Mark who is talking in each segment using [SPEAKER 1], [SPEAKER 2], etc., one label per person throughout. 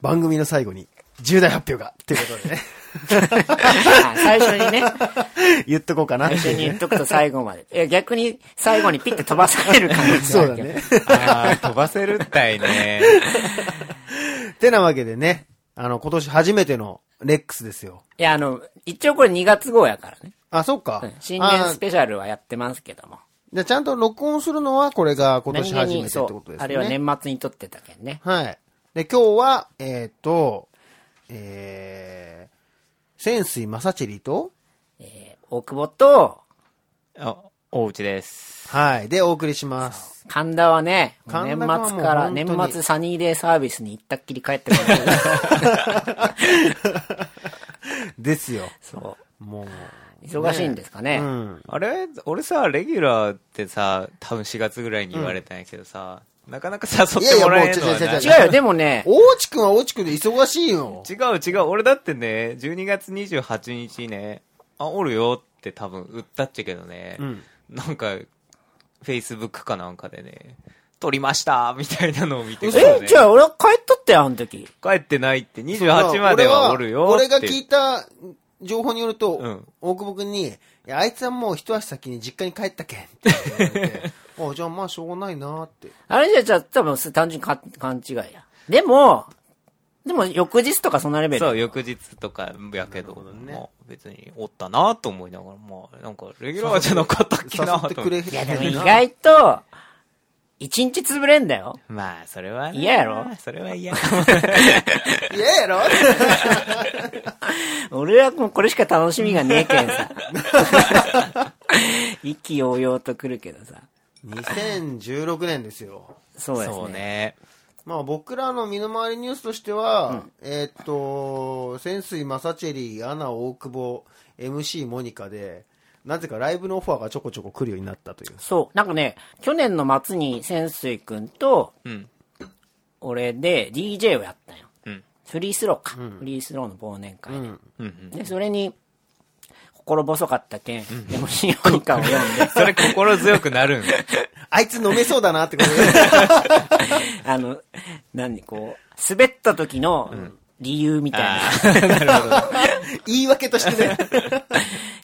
[SPEAKER 1] 番組の最後に、重大発表が、ということでね、
[SPEAKER 2] あ最初にね、
[SPEAKER 1] 言っとこうかなって
[SPEAKER 2] 最
[SPEAKER 1] いう
[SPEAKER 2] 初に言っとくと最後まで。いや、逆に最後にピッて飛ばされる感 じ
[SPEAKER 1] そうだね。
[SPEAKER 3] あー飛ばせるったいね。
[SPEAKER 1] てなわけでね、あの、今年初めてのレックスですよ。
[SPEAKER 2] いや、あの、一応これ2月号やからね。
[SPEAKER 1] あ、そっか。
[SPEAKER 2] うん新
[SPEAKER 1] あ
[SPEAKER 2] 年
[SPEAKER 1] ー
[SPEAKER 2] スペシャルはやってますけども。
[SPEAKER 1] じゃあちゃんと録音するのはこれが今年初めて
[SPEAKER 2] 何
[SPEAKER 1] っ
[SPEAKER 2] 気に
[SPEAKER 1] て
[SPEAKER 2] そ
[SPEAKER 1] こと
[SPEAKER 2] う
[SPEAKER 1] で。すね。
[SPEAKER 2] あれは年末に撮ってたけんね。
[SPEAKER 1] はい。で、今日は、えっ、と、えー、潜水正チェリと、
[SPEAKER 2] えー大久保と、
[SPEAKER 3] あおうちです。
[SPEAKER 1] はい。で、お送りします。
[SPEAKER 2] 神田はね、もう
[SPEAKER 1] 神
[SPEAKER 2] 年
[SPEAKER 1] 田はもう
[SPEAKER 2] 末から、
[SPEAKER 1] 本当
[SPEAKER 2] 年
[SPEAKER 1] に
[SPEAKER 2] 末サニーデイサービスに行ったっきり帰ってこ ない。
[SPEAKER 1] ですよ。
[SPEAKER 2] そ
[SPEAKER 1] も
[SPEAKER 2] う。忙しいんですか
[SPEAKER 1] う。
[SPEAKER 2] ね。
[SPEAKER 1] うん。
[SPEAKER 3] あれ俺さ、レギュラーってさ、多分4月ぐらいに言われたんやけどさ、なかなか誘ってもらえんのは
[SPEAKER 1] やい
[SPEAKER 3] い
[SPEAKER 1] やもう違う違う違う
[SPEAKER 3] ない
[SPEAKER 1] 違
[SPEAKER 2] 違うよ、でもね、
[SPEAKER 1] 大地くんは大地くんで忙しいよ。
[SPEAKER 3] 違う違う、俺だってね、12月28日ね、あ、おるよって多分売ったっちゃけどね、
[SPEAKER 1] ん
[SPEAKER 3] なんか、Facebook かなんかでね、撮りましたみたいなのを見てからね
[SPEAKER 2] え、じゃあ俺は帰っとったよ、あの時。
[SPEAKER 3] 帰ってないって、28まではおるよって。
[SPEAKER 1] 俺は俺が聞いた情報によると、
[SPEAKER 3] うん
[SPEAKER 1] 大久保くんに、いや、あいつはもう一足先に実家に帰ったけんって言われて。あ、じゃあまあしょうがないなーって。
[SPEAKER 2] あれじゃ、じゃあ多分単純にか勘違いや。でも、でも翌日とかそんなレベル。
[SPEAKER 3] そう、翌日とかやけど、まあ別におったなと思いながら、まあなんかレギュラーじゃなかったっけ
[SPEAKER 1] 誘
[SPEAKER 3] な
[SPEAKER 1] って
[SPEAKER 3] と
[SPEAKER 1] く
[SPEAKER 3] 思っ
[SPEAKER 1] れ
[SPEAKER 3] て。
[SPEAKER 2] いやでも
[SPEAKER 1] へん
[SPEAKER 2] 意
[SPEAKER 1] な
[SPEAKER 2] 外と、一日潰れんだよ。
[SPEAKER 3] まあ、それはね
[SPEAKER 2] 嫌やろ
[SPEAKER 3] それは嫌。
[SPEAKER 1] いややろ
[SPEAKER 2] 俺はもうこれしか楽しみがねえけんさ。 意気揚々と来るけどさ。
[SPEAKER 1] 2016年ですよ。
[SPEAKER 2] そうですね。
[SPEAKER 3] そうね。
[SPEAKER 1] まあ僕らの身の回りニュースとしては、えーっと、潜水マサチェリー、アナ大久保、MC モニカで、なぜかライブのオファーがちょこちょこ来るようになったという。
[SPEAKER 2] そう。なんかね、去年の末に潜水くんと、
[SPEAKER 3] うん。
[SPEAKER 2] 俺で DJ をやったんよ。
[SPEAKER 3] うん。
[SPEAKER 2] フリースローか。フリースローの忘年会で。
[SPEAKER 3] うんうん。
[SPEAKER 2] で、それに、心細かったけん、でも、シオニカを読んで、
[SPEAKER 3] それ心強くなるん
[SPEAKER 1] あいつ飲めそうだなってことで。
[SPEAKER 2] あの、何、こう、滑った時の理由みたいな、
[SPEAKER 1] 言い訳としてね。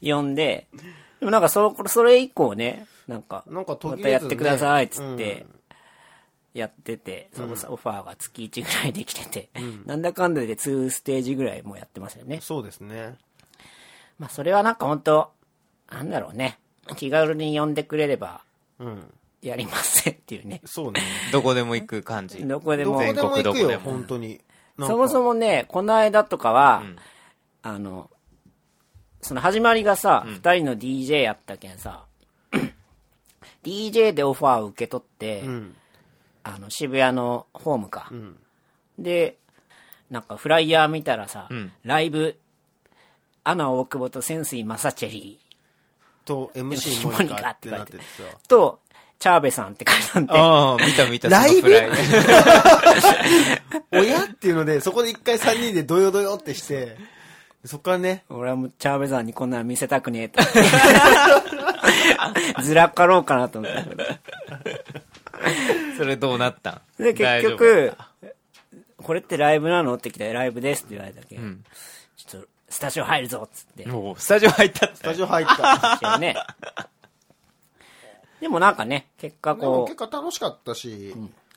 [SPEAKER 2] 読んで、でもなんかそ、それ以降ね、なんか、
[SPEAKER 1] なんか途
[SPEAKER 2] ま
[SPEAKER 1] 切れずね
[SPEAKER 2] たやってくださいっつって、やってて、そのさオファーが月1ぐらいできてて、なんだかんだで2ステージぐらいもうやってますよね。
[SPEAKER 1] そうですね。
[SPEAKER 2] まあ、それはなんか本当なんだろうね、気軽に呼んでくれれば、
[SPEAKER 1] うん。
[SPEAKER 2] やりますっていうね。
[SPEAKER 1] そうね。
[SPEAKER 3] どこでも行く感じ。
[SPEAKER 2] どこで
[SPEAKER 1] どこ
[SPEAKER 2] も
[SPEAKER 1] でも行
[SPEAKER 3] 全国ど
[SPEAKER 1] く
[SPEAKER 3] こで
[SPEAKER 1] よ、
[SPEAKER 3] も
[SPEAKER 1] 本当に。
[SPEAKER 2] そもそ
[SPEAKER 1] も。
[SPEAKER 2] もね、この間とかは、あの、その始まりがさ、二、人の DJ やったけんさ、DJ でオファーを受け取って、
[SPEAKER 1] うん。
[SPEAKER 2] あの、渋谷のホームか。で、なんかフライヤー見たらさ、
[SPEAKER 3] ん
[SPEAKER 2] ライブ、アナ大久保と潜水マサチェリ
[SPEAKER 1] と、MC モニカってなっててさ。
[SPEAKER 2] ーと、チャーベさんって書いてあって、
[SPEAKER 3] ああ、見た見た、
[SPEAKER 1] ライブ
[SPEAKER 3] そのフイ
[SPEAKER 1] 親っていうので、そこで一回3人でドヨドヨってして、そっからね、
[SPEAKER 2] 俺はもうチャーベさんにこんなの見せたくねえと思って。ずらっかろうかなと思ったけど。
[SPEAKER 3] それどうなったん
[SPEAKER 2] で、
[SPEAKER 3] 大
[SPEAKER 2] 結
[SPEAKER 3] 丈夫だ
[SPEAKER 2] 局
[SPEAKER 3] っ、
[SPEAKER 2] これってライブなのって来て、ライブですって言われたけ、
[SPEAKER 3] ん
[SPEAKER 2] ちょっと、スタジオ入るぞっつって
[SPEAKER 3] た。もう、スタジオ入ったっ
[SPEAKER 1] ス
[SPEAKER 3] て
[SPEAKER 1] タジオ入った。
[SPEAKER 2] 一応ね。でもなんかね、結果
[SPEAKER 1] でも
[SPEAKER 2] こ
[SPEAKER 1] 結果楽しかったし、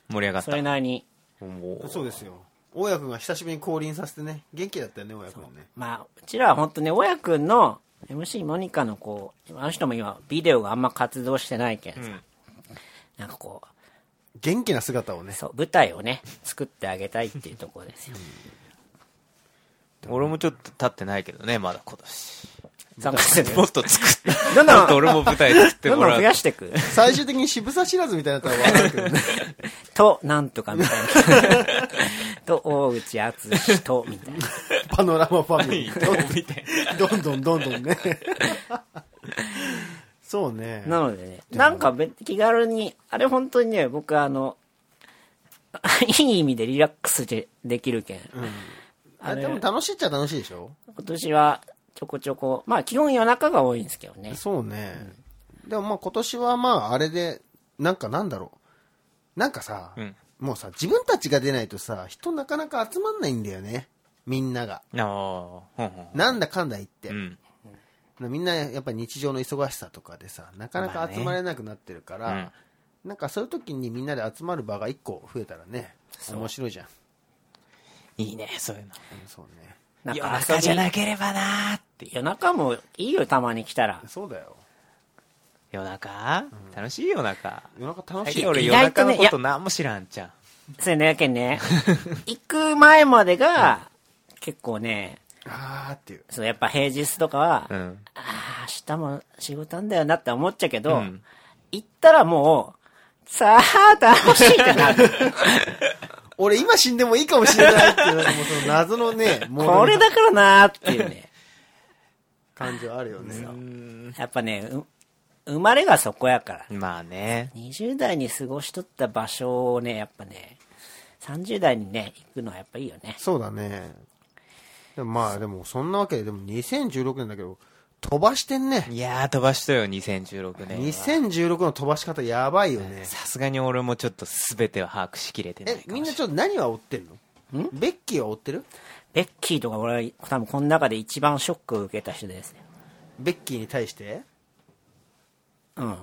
[SPEAKER 3] 盛り上が
[SPEAKER 2] う、
[SPEAKER 3] っ
[SPEAKER 2] それなりに、
[SPEAKER 3] た。もう、
[SPEAKER 1] そうですよ。大家くんが久しぶりに降臨させてね、元気だったよね、大家くんね。
[SPEAKER 2] まあ、うちらは本当ね、親くんの MC モニカのこう、あの人も今、ビデオがあんま活動してないけんさ、なんかこう、
[SPEAKER 1] 元気な姿をね。
[SPEAKER 2] そう、舞台をね、作ってあげたいっていうところですよ。
[SPEAKER 3] 俺もちょっと立ってないけどね、まだ今年。
[SPEAKER 2] 参加する。
[SPEAKER 3] もっと作って、
[SPEAKER 2] どんどん
[SPEAKER 3] もっと 俺も舞台作って
[SPEAKER 2] どん
[SPEAKER 3] も
[SPEAKER 2] どん
[SPEAKER 3] ら
[SPEAKER 2] 増
[SPEAKER 3] う。
[SPEAKER 2] やしていく。
[SPEAKER 1] 最終的に渋沢知らずみたいになったら笑うけどね。
[SPEAKER 2] と、なんとかみたいな。 と、大内厚志と、みたいな。
[SPEAKER 1] パノラマファミリー
[SPEAKER 3] どう見て。
[SPEAKER 1] どんどんどんどんね。そうね。
[SPEAKER 2] なのでね、なんか別気軽に、あれ本当にね、僕あの、いい意味でリラックスでできるけん。
[SPEAKER 1] あでも楽しいっちゃ楽しいでしょ
[SPEAKER 2] 今年はちょこちょこ、まあ基本夜中が多いんですけどね。
[SPEAKER 1] そうね。でもまあ今年はまああれで、なんかなんだろう。なんかさ、
[SPEAKER 3] うん
[SPEAKER 1] もうさ、自分たちが出ないとさ、人なかなか集まんないんだよね。みんなが。
[SPEAKER 3] あほんほん
[SPEAKER 1] なんだかんだ言って。
[SPEAKER 3] うん。
[SPEAKER 1] みんなやっぱ日常の忙しさとかでさ、なかな
[SPEAKER 2] ま
[SPEAKER 1] か
[SPEAKER 2] あね
[SPEAKER 1] 集まれなくなってるから、
[SPEAKER 3] うん
[SPEAKER 1] なんかそういう時にみんなで集まる場が一個増えたらね、面白いじゃん。
[SPEAKER 3] いいね、そういうの。
[SPEAKER 1] うんそうね。
[SPEAKER 2] なん
[SPEAKER 3] 夜
[SPEAKER 2] か
[SPEAKER 3] 中
[SPEAKER 2] 遊び
[SPEAKER 3] じゃなければなーって。
[SPEAKER 2] 夜中もいいよ、たまに来たら。
[SPEAKER 1] そうだよ。
[SPEAKER 3] 夜中楽しい夜中。
[SPEAKER 1] 夜中楽
[SPEAKER 3] 最
[SPEAKER 1] しい
[SPEAKER 3] 近
[SPEAKER 1] よ。
[SPEAKER 3] 俺
[SPEAKER 2] 意
[SPEAKER 3] 夜
[SPEAKER 2] 外
[SPEAKER 3] 中
[SPEAKER 2] とね
[SPEAKER 3] のこと何も知らんじゃん。
[SPEAKER 2] それね、けんね。行く前まで が、結構ね、
[SPEAKER 1] あーっていう。
[SPEAKER 2] そうやっぱ平日とかは、
[SPEAKER 3] うん。
[SPEAKER 2] ああ、明日も仕事なんだよなって思っちゃうけど、
[SPEAKER 3] うん
[SPEAKER 2] 行ったらもう、さあ、楽しいってなる。
[SPEAKER 1] 俺今死んでもいいかもしれないっていう、なんかもうその謎の ね、も
[SPEAKER 2] これだからなーっていうね。
[SPEAKER 1] 感じはあるよね。
[SPEAKER 2] やっぱね、う生まれがそこやから。
[SPEAKER 3] まあね。
[SPEAKER 2] 20代に過ごしとった場所をね、やっぱね、30代にね、行くのはやっぱいいよね。
[SPEAKER 1] そうだね。でもまあでもそんなわけで、でも2016年だけど、飛ばしてんね。
[SPEAKER 3] いやー、飛ばしとよ、2016年は。
[SPEAKER 1] 2016の飛ばし方やばいよね。
[SPEAKER 3] さすがに俺もちょっと全ては把握しきれてない
[SPEAKER 1] え、
[SPEAKER 3] かも
[SPEAKER 1] みんなちょっと何は追ってんのベッキーは追ってる
[SPEAKER 2] ベッキーとか俺は多分この中で一番ショックを受けた人ですね。
[SPEAKER 1] ベッキーに対して
[SPEAKER 2] うん。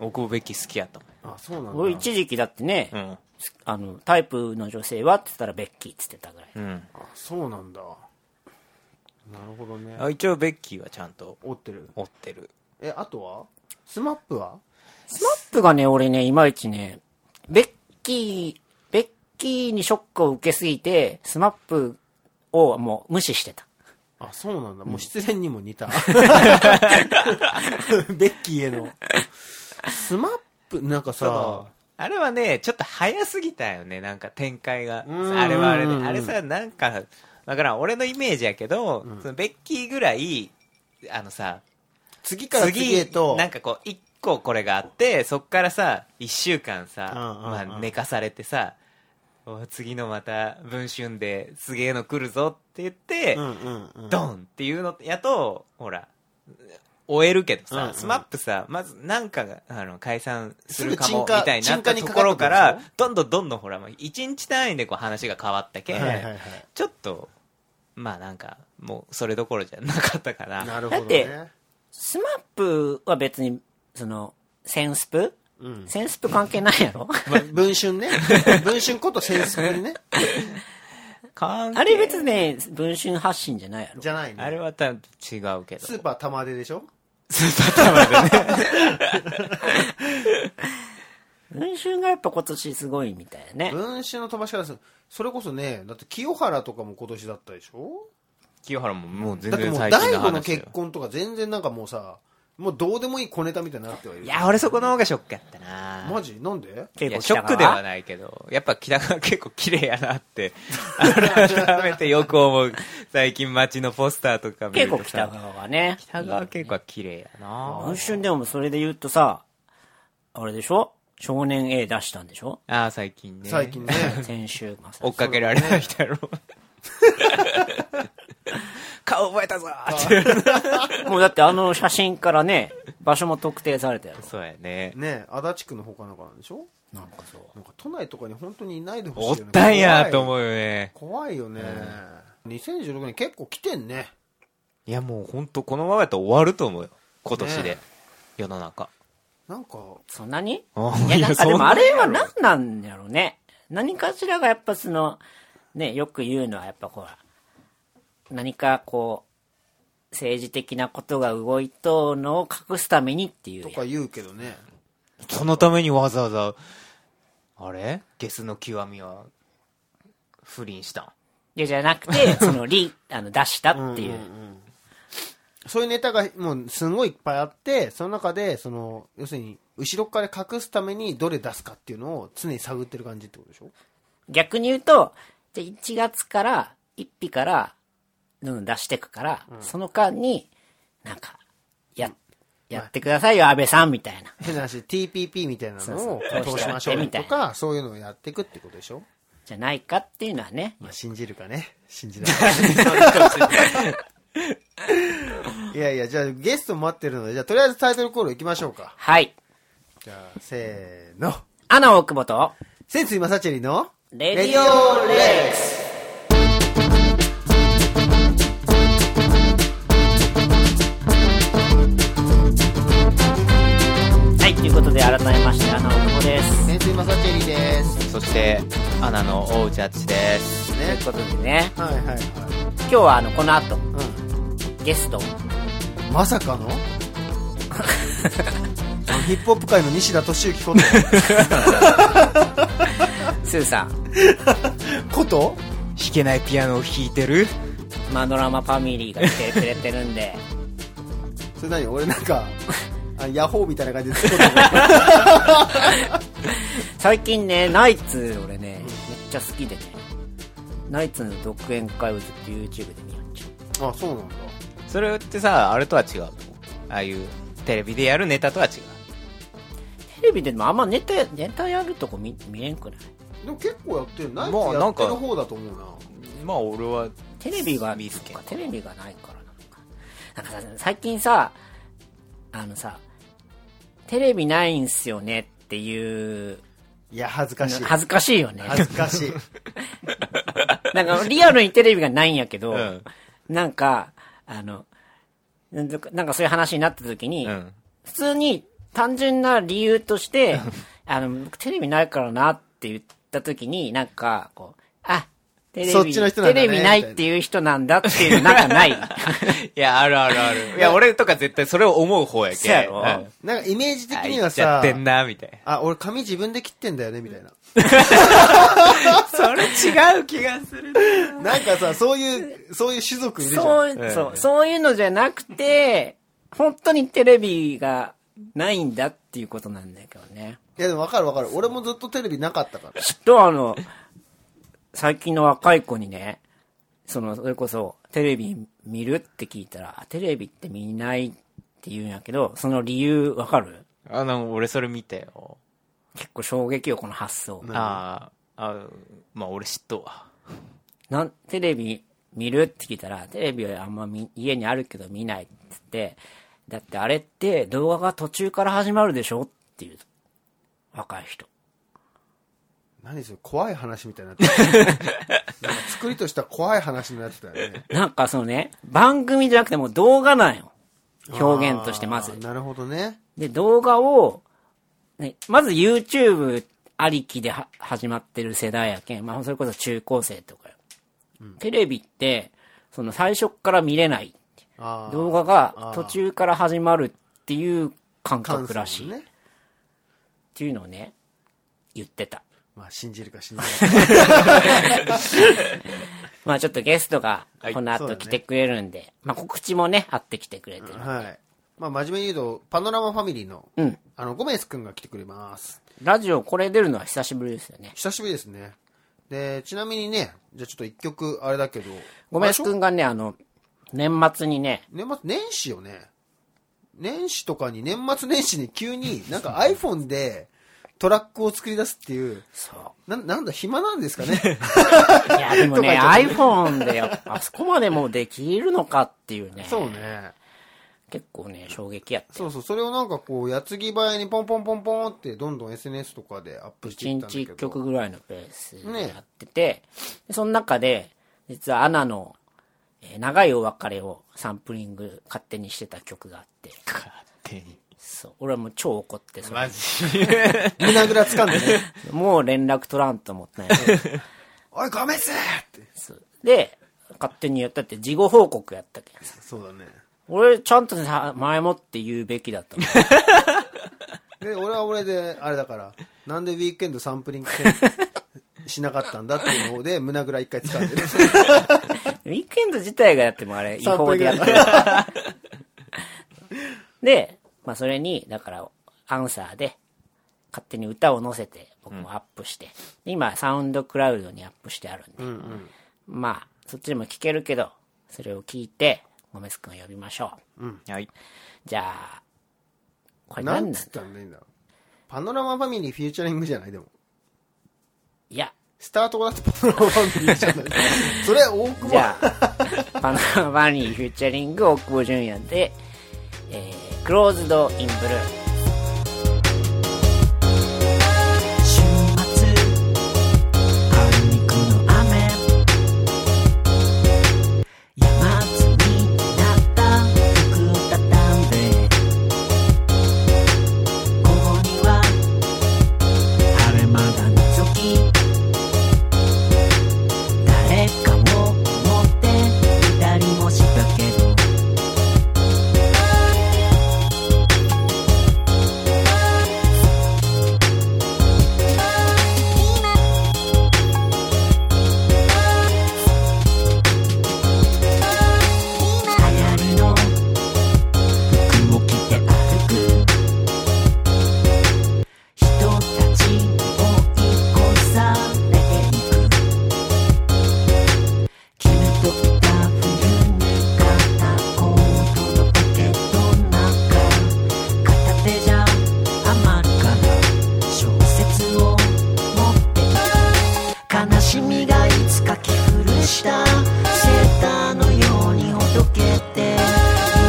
[SPEAKER 3] 大久保べき好きやと
[SPEAKER 1] あ、そうなん
[SPEAKER 2] 俺
[SPEAKER 1] だ。
[SPEAKER 2] 一時期だってね、
[SPEAKER 3] 思う。
[SPEAKER 2] あの、タイプの女性はって言ったらベッキーって言ってたぐらい。
[SPEAKER 3] うん。うん。
[SPEAKER 1] あそうなんだ。なるほどね。
[SPEAKER 3] あ一応ベッキーはちゃんと
[SPEAKER 1] 追ってる。
[SPEAKER 3] 追ってる。
[SPEAKER 1] え、あとはスマップは
[SPEAKER 2] スマップがね、俺ね、いまいちね、ベッキー、ベッキーにショックを受けすぎて、スマップをもう無視してた。
[SPEAKER 1] あ、そうなんだ。もう失恋にも似 た。ベッキーへの。スマップ、なんかさ、
[SPEAKER 3] あれはね、ちょっと早すぎたよね、なんか展開が。
[SPEAKER 1] うん
[SPEAKER 3] あれはあれで、
[SPEAKER 1] うん
[SPEAKER 3] あれさ、なんか、だからん俺のイメージやけど、そのベッキーぐらい、あのさ、
[SPEAKER 1] 次から次へと、
[SPEAKER 3] なんかこう、一個これがあって、そっからさ、一週間さ、
[SPEAKER 1] うんうんうん
[SPEAKER 3] まあ寝かされてさ、お次のまた文春ですげえの来るぞって言って、
[SPEAKER 1] うんうんうん。
[SPEAKER 3] ドンっていうのやと、ほら、終えるけどさ、
[SPEAKER 1] うんうん
[SPEAKER 3] スマップさ、まずなんかが、あの、解散するか
[SPEAKER 1] すぐ
[SPEAKER 3] も、み
[SPEAKER 1] 沈下
[SPEAKER 3] たいになった
[SPEAKER 1] 沈下に
[SPEAKER 3] と
[SPEAKER 1] かかって
[SPEAKER 3] ころか
[SPEAKER 1] くる
[SPEAKER 3] ら
[SPEAKER 1] でし、
[SPEAKER 3] どんどんどんどんほら、まあ一日単位でこう話が変わったけ、
[SPEAKER 1] はいはいはい。
[SPEAKER 3] ちょっと、まあなんか、もうそれどころじゃなかったから、
[SPEAKER 1] なるほど
[SPEAKER 2] だって
[SPEAKER 1] ね。
[SPEAKER 2] スマップは別に、その、センスプ、
[SPEAKER 1] うん
[SPEAKER 2] センスプ関係ないや ろ
[SPEAKER 1] ま文春ね。 文春こと先生ね。
[SPEAKER 3] 関係
[SPEAKER 2] あれ別にね、文春発信じゃないやろ
[SPEAKER 1] じゃないね。
[SPEAKER 3] あれはた違うけど。
[SPEAKER 1] スーパー玉出でしょ
[SPEAKER 2] 文春がやっぱ今年すごいみたいなね。
[SPEAKER 1] 文春の飛ばし方です。それこそね、だって清原とかも今年だったでしょ
[SPEAKER 3] 清原ももう全
[SPEAKER 1] だって
[SPEAKER 3] 然
[SPEAKER 1] もう
[SPEAKER 3] 最近
[SPEAKER 1] 大
[SPEAKER 3] の
[SPEAKER 1] 悟の
[SPEAKER 3] 話だよ
[SPEAKER 1] 結婚とか全然なんかもうさ、もうどうでもいい小ネタみたいになってはいる。
[SPEAKER 3] いや、俺そこの方がショックやったな
[SPEAKER 1] マジなんで
[SPEAKER 3] い
[SPEAKER 2] 結
[SPEAKER 3] や
[SPEAKER 2] 構
[SPEAKER 3] ショックではないけど、やっぱ北川結構綺麗やなって、改めてよく思う。最近街のポスターとか見
[SPEAKER 2] 結
[SPEAKER 3] ると
[SPEAKER 2] 構北
[SPEAKER 3] さ
[SPEAKER 2] 側はね。
[SPEAKER 3] 北川結構綺麗やな
[SPEAKER 2] 文春でもそれで言うとさ、あれでしょ少年 A 出したんでしょ
[SPEAKER 3] ああ、最近ね。
[SPEAKER 1] 最近ね。
[SPEAKER 2] 先週がさ
[SPEAKER 3] 追っかけられない人やろ。 顔覚えたぞーって。
[SPEAKER 2] もうだってあの写真からね、場所も特定されたやろ。
[SPEAKER 3] そうやね。
[SPEAKER 1] ね足立区の他なんかなんでしょ
[SPEAKER 2] なんかそう。
[SPEAKER 1] なんか都内とかに本当にいないでほしい
[SPEAKER 3] お
[SPEAKER 1] よ
[SPEAKER 3] っ
[SPEAKER 1] ね。
[SPEAKER 3] たんやと
[SPEAKER 1] う。
[SPEAKER 3] 思うよね。
[SPEAKER 1] 怖いよね。2016年結構来てんね。
[SPEAKER 3] いやもうほんとこのままやったら終わると思うよ。今年で。
[SPEAKER 1] ね
[SPEAKER 3] 世の中。
[SPEAKER 1] なんか、
[SPEAKER 2] そんなに
[SPEAKER 3] あ
[SPEAKER 2] いや、
[SPEAKER 3] いや
[SPEAKER 2] なんか
[SPEAKER 3] そん
[SPEAKER 2] で
[SPEAKER 3] な
[SPEAKER 2] もあれは何なんやろうね。何かしらがやっぱその、ね、よく言うのはやっぱほら、何かこう、政治的なことが動いとうのを隠すためにっていう
[SPEAKER 1] と
[SPEAKER 2] やん。
[SPEAKER 1] か言うけどね。
[SPEAKER 3] そのためにわざわざ、あれゲスの極みは、不倫したん
[SPEAKER 2] いや、じゃなくて、そ の、り、あの、出したっていう。
[SPEAKER 1] そういうネタがもうすごいいっぱいあって、その中で、その、要するに、後ろから隠すためにどれ出すかっていうのを常に探ってる感じってことでし ょ
[SPEAKER 2] 逆に言うと、じゃあ1月から、1日から、うん、出してくから、その間に、なんか、や、やってくださいよ、安倍さん、みたいな。
[SPEAKER 1] 変な話、TPP みたいな
[SPEAKER 2] そう
[SPEAKER 1] のを
[SPEAKER 2] そう
[SPEAKER 1] 通しましょうよと
[SPEAKER 2] みた
[SPEAKER 1] か、そういうのをやっていくってことでしょ
[SPEAKER 2] じゃないかっていうのはね。
[SPEAKER 1] まあ、信じるかね。信じない。 いやいや、じゃあゲスト待ってるので、じゃあとりあえずタイトルコール行きましょうか。
[SPEAKER 2] はい。
[SPEAKER 1] じゃあ、せーの。
[SPEAKER 2] アナ大久保と、
[SPEAKER 1] 潜水マサチェリの
[SPEAKER 2] レディオレックスはい、ということで改めまして、あの、久保です。
[SPEAKER 1] 潜水マサチェリです
[SPEAKER 3] そしてアナの大内淳です
[SPEAKER 2] という
[SPEAKER 1] ね
[SPEAKER 2] ことでね、
[SPEAKER 1] はいはいは
[SPEAKER 2] 今日はあの、この後、
[SPEAKER 1] い、う
[SPEAKER 2] ゲスト、
[SPEAKER 1] ん、まさ かのヒップホップ界の西田敏行こと
[SPEAKER 2] スーさん、
[SPEAKER 1] こと
[SPEAKER 3] 弾けないピアノを弾いてる
[SPEAKER 2] マドラマファミリーが来てくれてるんで、
[SPEAKER 1] それ何俺なんかあヤホーみたいな感じで突っ込んでる
[SPEAKER 2] 最近ね、ナイツ、俺ね、めっちゃ好きでね、ナイツの独演会をずっと YouTube で見よっちゃ う。
[SPEAKER 1] あそうなんだ
[SPEAKER 3] それってさあれとは違うのああいうテレビでやるネタとは違う
[SPEAKER 2] テレビでもあんまネタやネタやるとこ見見れんくない
[SPEAKER 1] でも結構やってるナイツ
[SPEAKER 3] まあ
[SPEAKER 1] や
[SPEAKER 3] な
[SPEAKER 1] っ
[SPEAKER 3] ん
[SPEAKER 1] て
[SPEAKER 3] か
[SPEAKER 1] る方だと思うな
[SPEAKER 3] まあ俺は
[SPEAKER 2] テレビが
[SPEAKER 3] 見つけ
[SPEAKER 2] そっかテレビがないからなのかなんかさ最近さあのさテレビないんすよねっていう
[SPEAKER 1] いや恥ずかしい
[SPEAKER 2] 恥ずかしいよね
[SPEAKER 1] 恥ずか しい
[SPEAKER 2] なんかリアルにテレビがないんやけど、
[SPEAKER 3] うん
[SPEAKER 2] なんかあのなんとかなんかそういう話になった時に、
[SPEAKER 3] うん
[SPEAKER 2] 普通に単純な理由として、あの、テレビないからなって言った時に、なんか、こう、あ、テレビ、
[SPEAKER 1] そっちの人なんだね
[SPEAKER 2] テレビないっていう人なんだっていう、な んかない。
[SPEAKER 3] いやあるあるあ るいや俺とか絶対それを思う方や
[SPEAKER 2] そ
[SPEAKER 3] け
[SPEAKER 2] うやろ
[SPEAKER 3] うん
[SPEAKER 1] なんかイメージ的
[SPEAKER 3] あ
[SPEAKER 1] に
[SPEAKER 3] 言
[SPEAKER 1] は
[SPEAKER 3] っちゃ
[SPEAKER 1] さ
[SPEAKER 3] ってんなみたいな
[SPEAKER 1] あ俺髪自分で切ってんだよねみたいな
[SPEAKER 3] それ違う気がする
[SPEAKER 1] なんかさ、そういう、そういう種族いるじゃん。
[SPEAKER 2] そう、
[SPEAKER 3] ええ
[SPEAKER 2] そう、そういうのじゃなくて、本当にテレビがないんだっていうことなんだけどね。
[SPEAKER 1] いや、でもわかるわかる。俺もずっとテレビなかったから。
[SPEAKER 2] ちょっとあの、最近の若い子にね、その、それこそ、テレビ見るって聞いたら、あテレビって見ないって言うんやけど、その理由わかる
[SPEAKER 3] あの俺それ見たよ
[SPEAKER 2] 結構衝撃よ、この発想。
[SPEAKER 3] あーあまあ俺嫉妬わ
[SPEAKER 2] なん、テレビ見るって聞いたら、テレビはあんま見家にあるけど見ないって言って、だってあれって動画が途中から始まるでしょっていう、若い人。
[SPEAKER 1] 何それ、怖い話みたいになってた。 なんか作りとした怖い話になってたよね。
[SPEAKER 2] なんかそのね、番組じゃなくてもう動画なんよ。表現としてまず
[SPEAKER 1] あー。なるほどね。
[SPEAKER 2] で、動画を、ね、まず YouTube ありきでは始まってる世代やけん、まあ、それこそ中高生とかよ、テレビって、その最初っから見れない。
[SPEAKER 1] あー
[SPEAKER 2] 動画が途中から始まるっていう感覚らしい。っ
[SPEAKER 1] ね。
[SPEAKER 2] ていうのをね、言ってた。
[SPEAKER 1] まあ、信じるか信じないか。
[SPEAKER 2] まあちょっとゲストが
[SPEAKER 3] はい
[SPEAKER 2] この
[SPEAKER 1] そうだ
[SPEAKER 2] 後
[SPEAKER 1] ね
[SPEAKER 2] 来てくれるんで、まあ告知もね、あって来てくれてる。
[SPEAKER 1] はい。まあ、真面目に言うと、パノラマファミリーの、
[SPEAKER 2] うん
[SPEAKER 1] あの、ゴメス君が来てくれます。
[SPEAKER 2] ラジオこれ出るのは久しぶりですよね。
[SPEAKER 1] 久しぶりですね。で、ちなみにね、じゃあちょっと一曲、あれだけど。
[SPEAKER 2] ごめんすくんがね、あの、年末にね、
[SPEAKER 1] 年末、年始よね。年始とかに、年末年始に急に、なんか iPhone でトラックを作り出すっていう、
[SPEAKER 2] そう。
[SPEAKER 1] な、なんだ、暇なんですかね。
[SPEAKER 2] いや、でもね、
[SPEAKER 1] とか
[SPEAKER 2] iPhone でやっ ぱあそこまでもうできるのかっていうね。
[SPEAKER 1] そう。ね。
[SPEAKER 2] 結構ね、衝撃やった。
[SPEAKER 1] そうそう、それをなんかこう、矢継ぎ早にポンポンポンポンって、どんどん SNS とかでアップしてい
[SPEAKER 2] 1
[SPEAKER 1] ったんだ
[SPEAKER 2] 日
[SPEAKER 1] けど。
[SPEAKER 2] 1曲ぐらいのペースでやってて、でその中で、実はアナの、えー長いお別れをサンプリング勝手にしてた曲があって、
[SPEAKER 3] 勝手に
[SPEAKER 2] そう。俺はもう超怒って、それ
[SPEAKER 3] マジ
[SPEAKER 1] 胸ぐらつかんでね。
[SPEAKER 2] もう連絡取らんと思ったん やけど
[SPEAKER 1] おい、ごめんっすって。
[SPEAKER 2] そうで、勝手にやったって、事後報告やったけどさ。
[SPEAKER 1] そうだね。
[SPEAKER 2] 俺、ちゃんとさ前もって言うべきだったの。
[SPEAKER 1] で、俺は俺で、あれだから、なんでウィークエンドサンプリングしなかったんだっていうので、胸ぐら一回掴んでる。
[SPEAKER 2] ウィークエンド自体がやってもあれ、違
[SPEAKER 1] サンプ
[SPEAKER 2] 法
[SPEAKER 1] リン
[SPEAKER 2] で
[SPEAKER 1] グ
[SPEAKER 2] や
[SPEAKER 1] だか
[SPEAKER 2] ってる
[SPEAKER 1] ら。
[SPEAKER 2] で、まあそれに、だから、アンサーで、勝手に歌を載せて、僕もアップして、で今、サウンドクラウドにアップしてあるんで、まあ、そっちでも聞けるけど、それを聞いて、ゴメス君を呼びましょう。
[SPEAKER 3] はい
[SPEAKER 2] じゃあ、これ
[SPEAKER 1] な
[SPEAKER 2] 何
[SPEAKER 1] ん
[SPEAKER 2] な
[SPEAKER 1] つ
[SPEAKER 2] ん
[SPEAKER 1] った
[SPEAKER 2] だ
[SPEAKER 1] らいいんだろう。パノラマファミリーフューチャリングじゃないでも。
[SPEAKER 2] いや、
[SPEAKER 1] スタートがだってパノラマファミリーじゃ ない。それ、大久
[SPEAKER 2] じ
[SPEAKER 1] 保。
[SPEAKER 2] ゃあ、パナマニーフューチャリング大久保純也で、えー、クローズドインブルー。
[SPEAKER 4] 週末したセーターのようにほどけて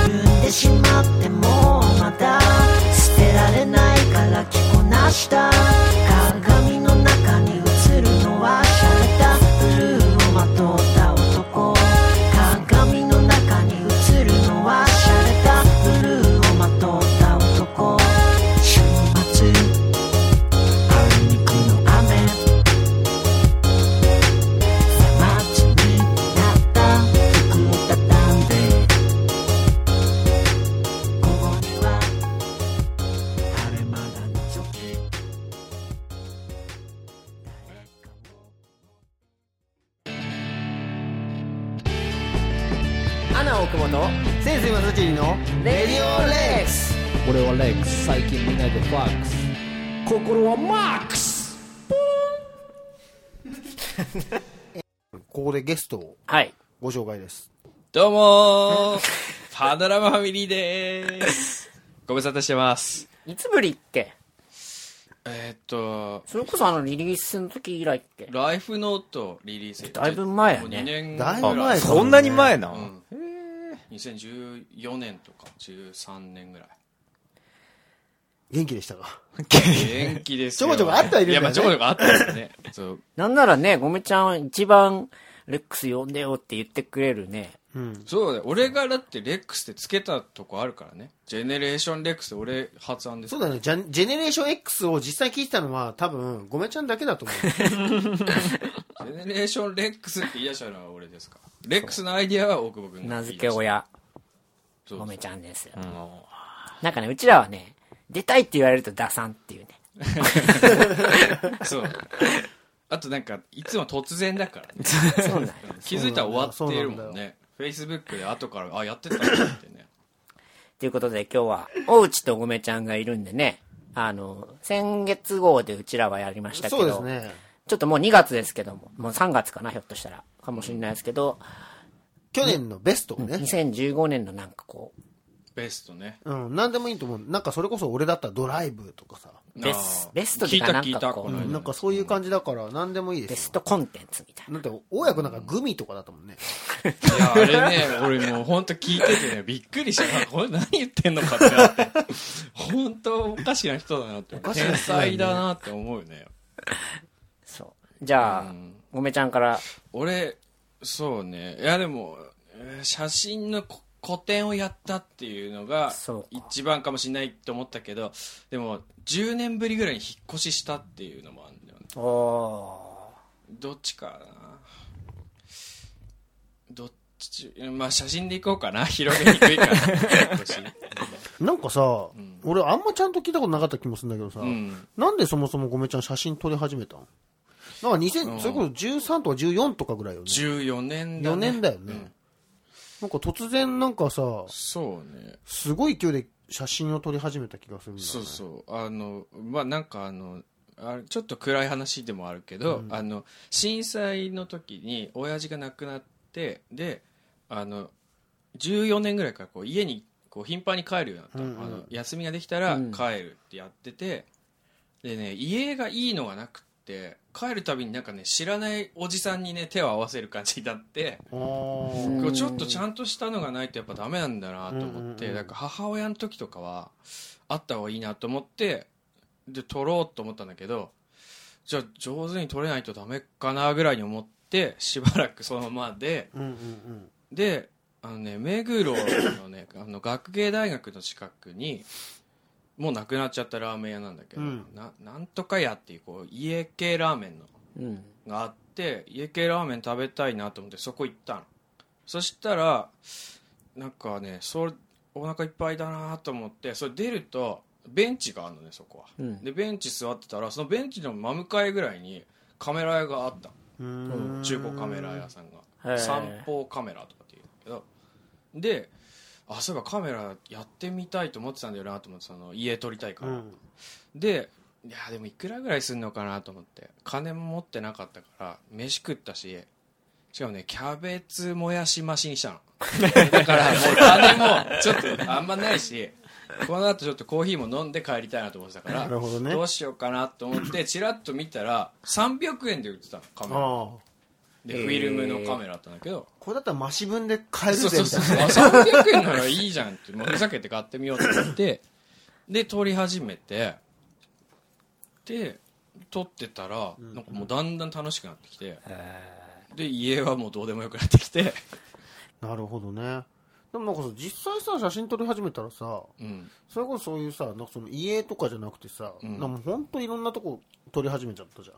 [SPEAKER 4] 緩んでしまってもまだ捨てられないから着こなした鏡の中に映るのは洒落たブルーをまとった男鏡の中に映るのは洒落たブルーをまとった男週末あいにくの雨街になった服を畳んでここには晴れ間が覗き
[SPEAKER 1] アナ大久保と先生正チのレディオレックス
[SPEAKER 5] 俺はレックス最近見ないでファックス心はマックス
[SPEAKER 1] ここでゲストを
[SPEAKER 2] はい。
[SPEAKER 1] ご紹介です
[SPEAKER 6] どうもーパノラマファミリーでーすご無沙汰してます
[SPEAKER 2] いつぶりっけ
[SPEAKER 6] えーっと
[SPEAKER 2] それこそあのリリースの時以来っけ
[SPEAKER 6] ライフノートリリース
[SPEAKER 2] だいぶ前やね
[SPEAKER 6] もう2年ぐら
[SPEAKER 1] だい
[SPEAKER 6] い
[SPEAKER 1] ぶ前
[SPEAKER 3] そんなに前なの
[SPEAKER 6] うん2014年とか13年ぐらい
[SPEAKER 1] 元気でしたか
[SPEAKER 6] 元気ですよ
[SPEAKER 1] ちょこちょこあったらいるんだよね
[SPEAKER 6] やまあちょこちょこあったんですよねそう
[SPEAKER 2] なんならね、ごめちゃん一番レックス呼んでよって言ってくれるね。
[SPEAKER 1] うん
[SPEAKER 6] そうだよ俺がだってレックスってつけたとこあるからねジェネレーションレックスって俺発案です
[SPEAKER 1] そうだねジャジェネレーション X を実際聞いてたのは多分ごめちゃんだけだと思う
[SPEAKER 6] ジェネレーションレックスって言い出したのは俺ですからレックスのアイディアは大久保君が
[SPEAKER 2] 名
[SPEAKER 6] 言
[SPEAKER 2] 付
[SPEAKER 6] い
[SPEAKER 2] け
[SPEAKER 6] 出した
[SPEAKER 2] 親、
[SPEAKER 6] そう
[SPEAKER 2] ごめちゃんですよ。
[SPEAKER 3] うん
[SPEAKER 2] なんかね、うちらはね、出たいって言われると出さんっていうね。
[SPEAKER 6] そう。あとなんか、いつも突然だからね、
[SPEAKER 2] そうなんよ
[SPEAKER 6] 気づいたら終わってる
[SPEAKER 1] そう
[SPEAKER 6] も
[SPEAKER 1] んなんだ
[SPEAKER 6] ね。Facebook で後から、あ、やってたんだってね。
[SPEAKER 2] ということで今日は、大内とごめちゃんがいるんでね、あの、先月号でうちらはやりましたけど、
[SPEAKER 1] そうですね
[SPEAKER 2] ちょっともう2月ですけども、もう3月かな、ひょっとしたら、かもしれないですけど、
[SPEAKER 1] 去年のベストをね、
[SPEAKER 2] 2015年のなんかこう、
[SPEAKER 6] ベストね。
[SPEAKER 1] うん、なんでもいいと思う。なんかそれこそ俺だったらドライブとかさ、
[SPEAKER 2] ベスベストでかなんか
[SPEAKER 6] 聞いた聞いた、
[SPEAKER 2] こう
[SPEAKER 6] こ
[SPEAKER 2] う
[SPEAKER 6] の間
[SPEAKER 1] なんかそういう感じだから、なんでもいいで
[SPEAKER 2] ベ
[SPEAKER 1] す
[SPEAKER 2] ストコンテンツみたい
[SPEAKER 1] よ。だって、大家君なんかグミとかだったもんね。
[SPEAKER 6] いや、あれね、俺もう本当聞いててね、びっくりした。あこれ何言ってんのかってなって。本当おかしな人だなって。天才だなって思うよね。
[SPEAKER 2] な。そう。じゃあ、ごめちゃんから、
[SPEAKER 6] 俺、そうね。いや、でも、えー写真のこ個展をやったっていうのが
[SPEAKER 2] そうか
[SPEAKER 6] 一番かもしれないと思ったけど、でも、10年ぶりぐらいに引っ越ししたっていうのもあるんだよね。
[SPEAKER 2] おー
[SPEAKER 6] どっちかな。どっち、まあ、写真でいこうかな。広げにくいから。 引っ越し
[SPEAKER 1] なんかさ、俺あんまちゃんと聞いたことなかった気もするんだけどさ、
[SPEAKER 6] うん。
[SPEAKER 1] なんでそもそもごめちゃん写真撮り始めたのなんか2000、それこそ13とか14とかぐらいよね。
[SPEAKER 6] 14年だ、
[SPEAKER 1] 4
[SPEAKER 6] ね。
[SPEAKER 1] 年だよね。
[SPEAKER 6] うん
[SPEAKER 1] なんか突然なんかさ、
[SPEAKER 6] そうね。
[SPEAKER 1] すごい勢いで写真を撮り始めた気がするんだよね。
[SPEAKER 6] そうそうあのまあなんかあのあちょっと暗い話でもあるけど、あの震災の時に親父が亡くなってであの14年ぐらいからこう家にこう頻繁に帰るようになったの、あの休みができたら帰るってやってて、でね家がいいのがなくって帰るたびになんかね知らないおじさんにね手を合わせる感じになって、
[SPEAKER 1] あ
[SPEAKER 6] こうちょっとちゃんとしたのがないとやっぱダメなんだなと思って、
[SPEAKER 1] うんうんうん
[SPEAKER 6] なんか母親の時とかはあった方がいいなと思ってで撮ろうと思ったんだけどじゃあ上手に撮れないとダメかなぐらいに思ってしばらくそのままで
[SPEAKER 1] ー。うんうんうん。
[SPEAKER 6] であのね目黒のね あの学芸大学の近くにもうなくなっちゃったラーメン屋なんだけど、
[SPEAKER 1] うん
[SPEAKER 6] ななんとか屋っていうこう家系ラーメンの
[SPEAKER 2] うん。
[SPEAKER 6] があって家系ラーメン食べたいなと思ってそこ行ったのそしたらなんかねそれお腹いっぱいだなと思ってそれ出るとベンチがあるのねそこは、
[SPEAKER 2] うん
[SPEAKER 6] でベンチ座ってたらそのベンチの真向かいぐらいにカメラ屋があった
[SPEAKER 1] うーん
[SPEAKER 6] 中古カメラ屋さん
[SPEAKER 2] へ
[SPEAKER 6] が
[SPEAKER 2] え
[SPEAKER 6] 散歩カメラとかっていうんだけどであそういえばカメラやってみたいと思ってたんだよなと思ってその家撮りたいから、
[SPEAKER 1] うん
[SPEAKER 6] でいやでもいくらぐらいすんのかなと思って金も持ってなかったから飯食ったししかもねキャベツもやし増しにしたの だからもう金もちょっとあんまないしこの後ちょっとコーヒーも飲んで帰りたいなと思ってたから
[SPEAKER 1] なるほどね
[SPEAKER 6] うしようかなと思ってチラッと見たら300円で売ってたのカメラ
[SPEAKER 1] ああ。
[SPEAKER 6] でフィルムのカメラだったんだけど、
[SPEAKER 1] これだったらマシ分で買える
[SPEAKER 6] そう
[SPEAKER 1] ぜ
[SPEAKER 6] そう
[SPEAKER 1] みた
[SPEAKER 6] そ
[SPEAKER 1] いうな
[SPEAKER 6] そう300円ならいいじゃんってもうふざけて買ってみようと思ってで撮り始めてで撮ってたらなんかもうだんだん楽しくなってきて、で家はもうどうでもよくなってきて、
[SPEAKER 1] なるほどねでもなんかさ実際さ写真撮り始めたらさ
[SPEAKER 6] うん、
[SPEAKER 1] それこそそういうさなんかその家とかじゃなくてさ、
[SPEAKER 6] ん
[SPEAKER 1] なんかもうほんといろんなとこ撮り始めちゃったじ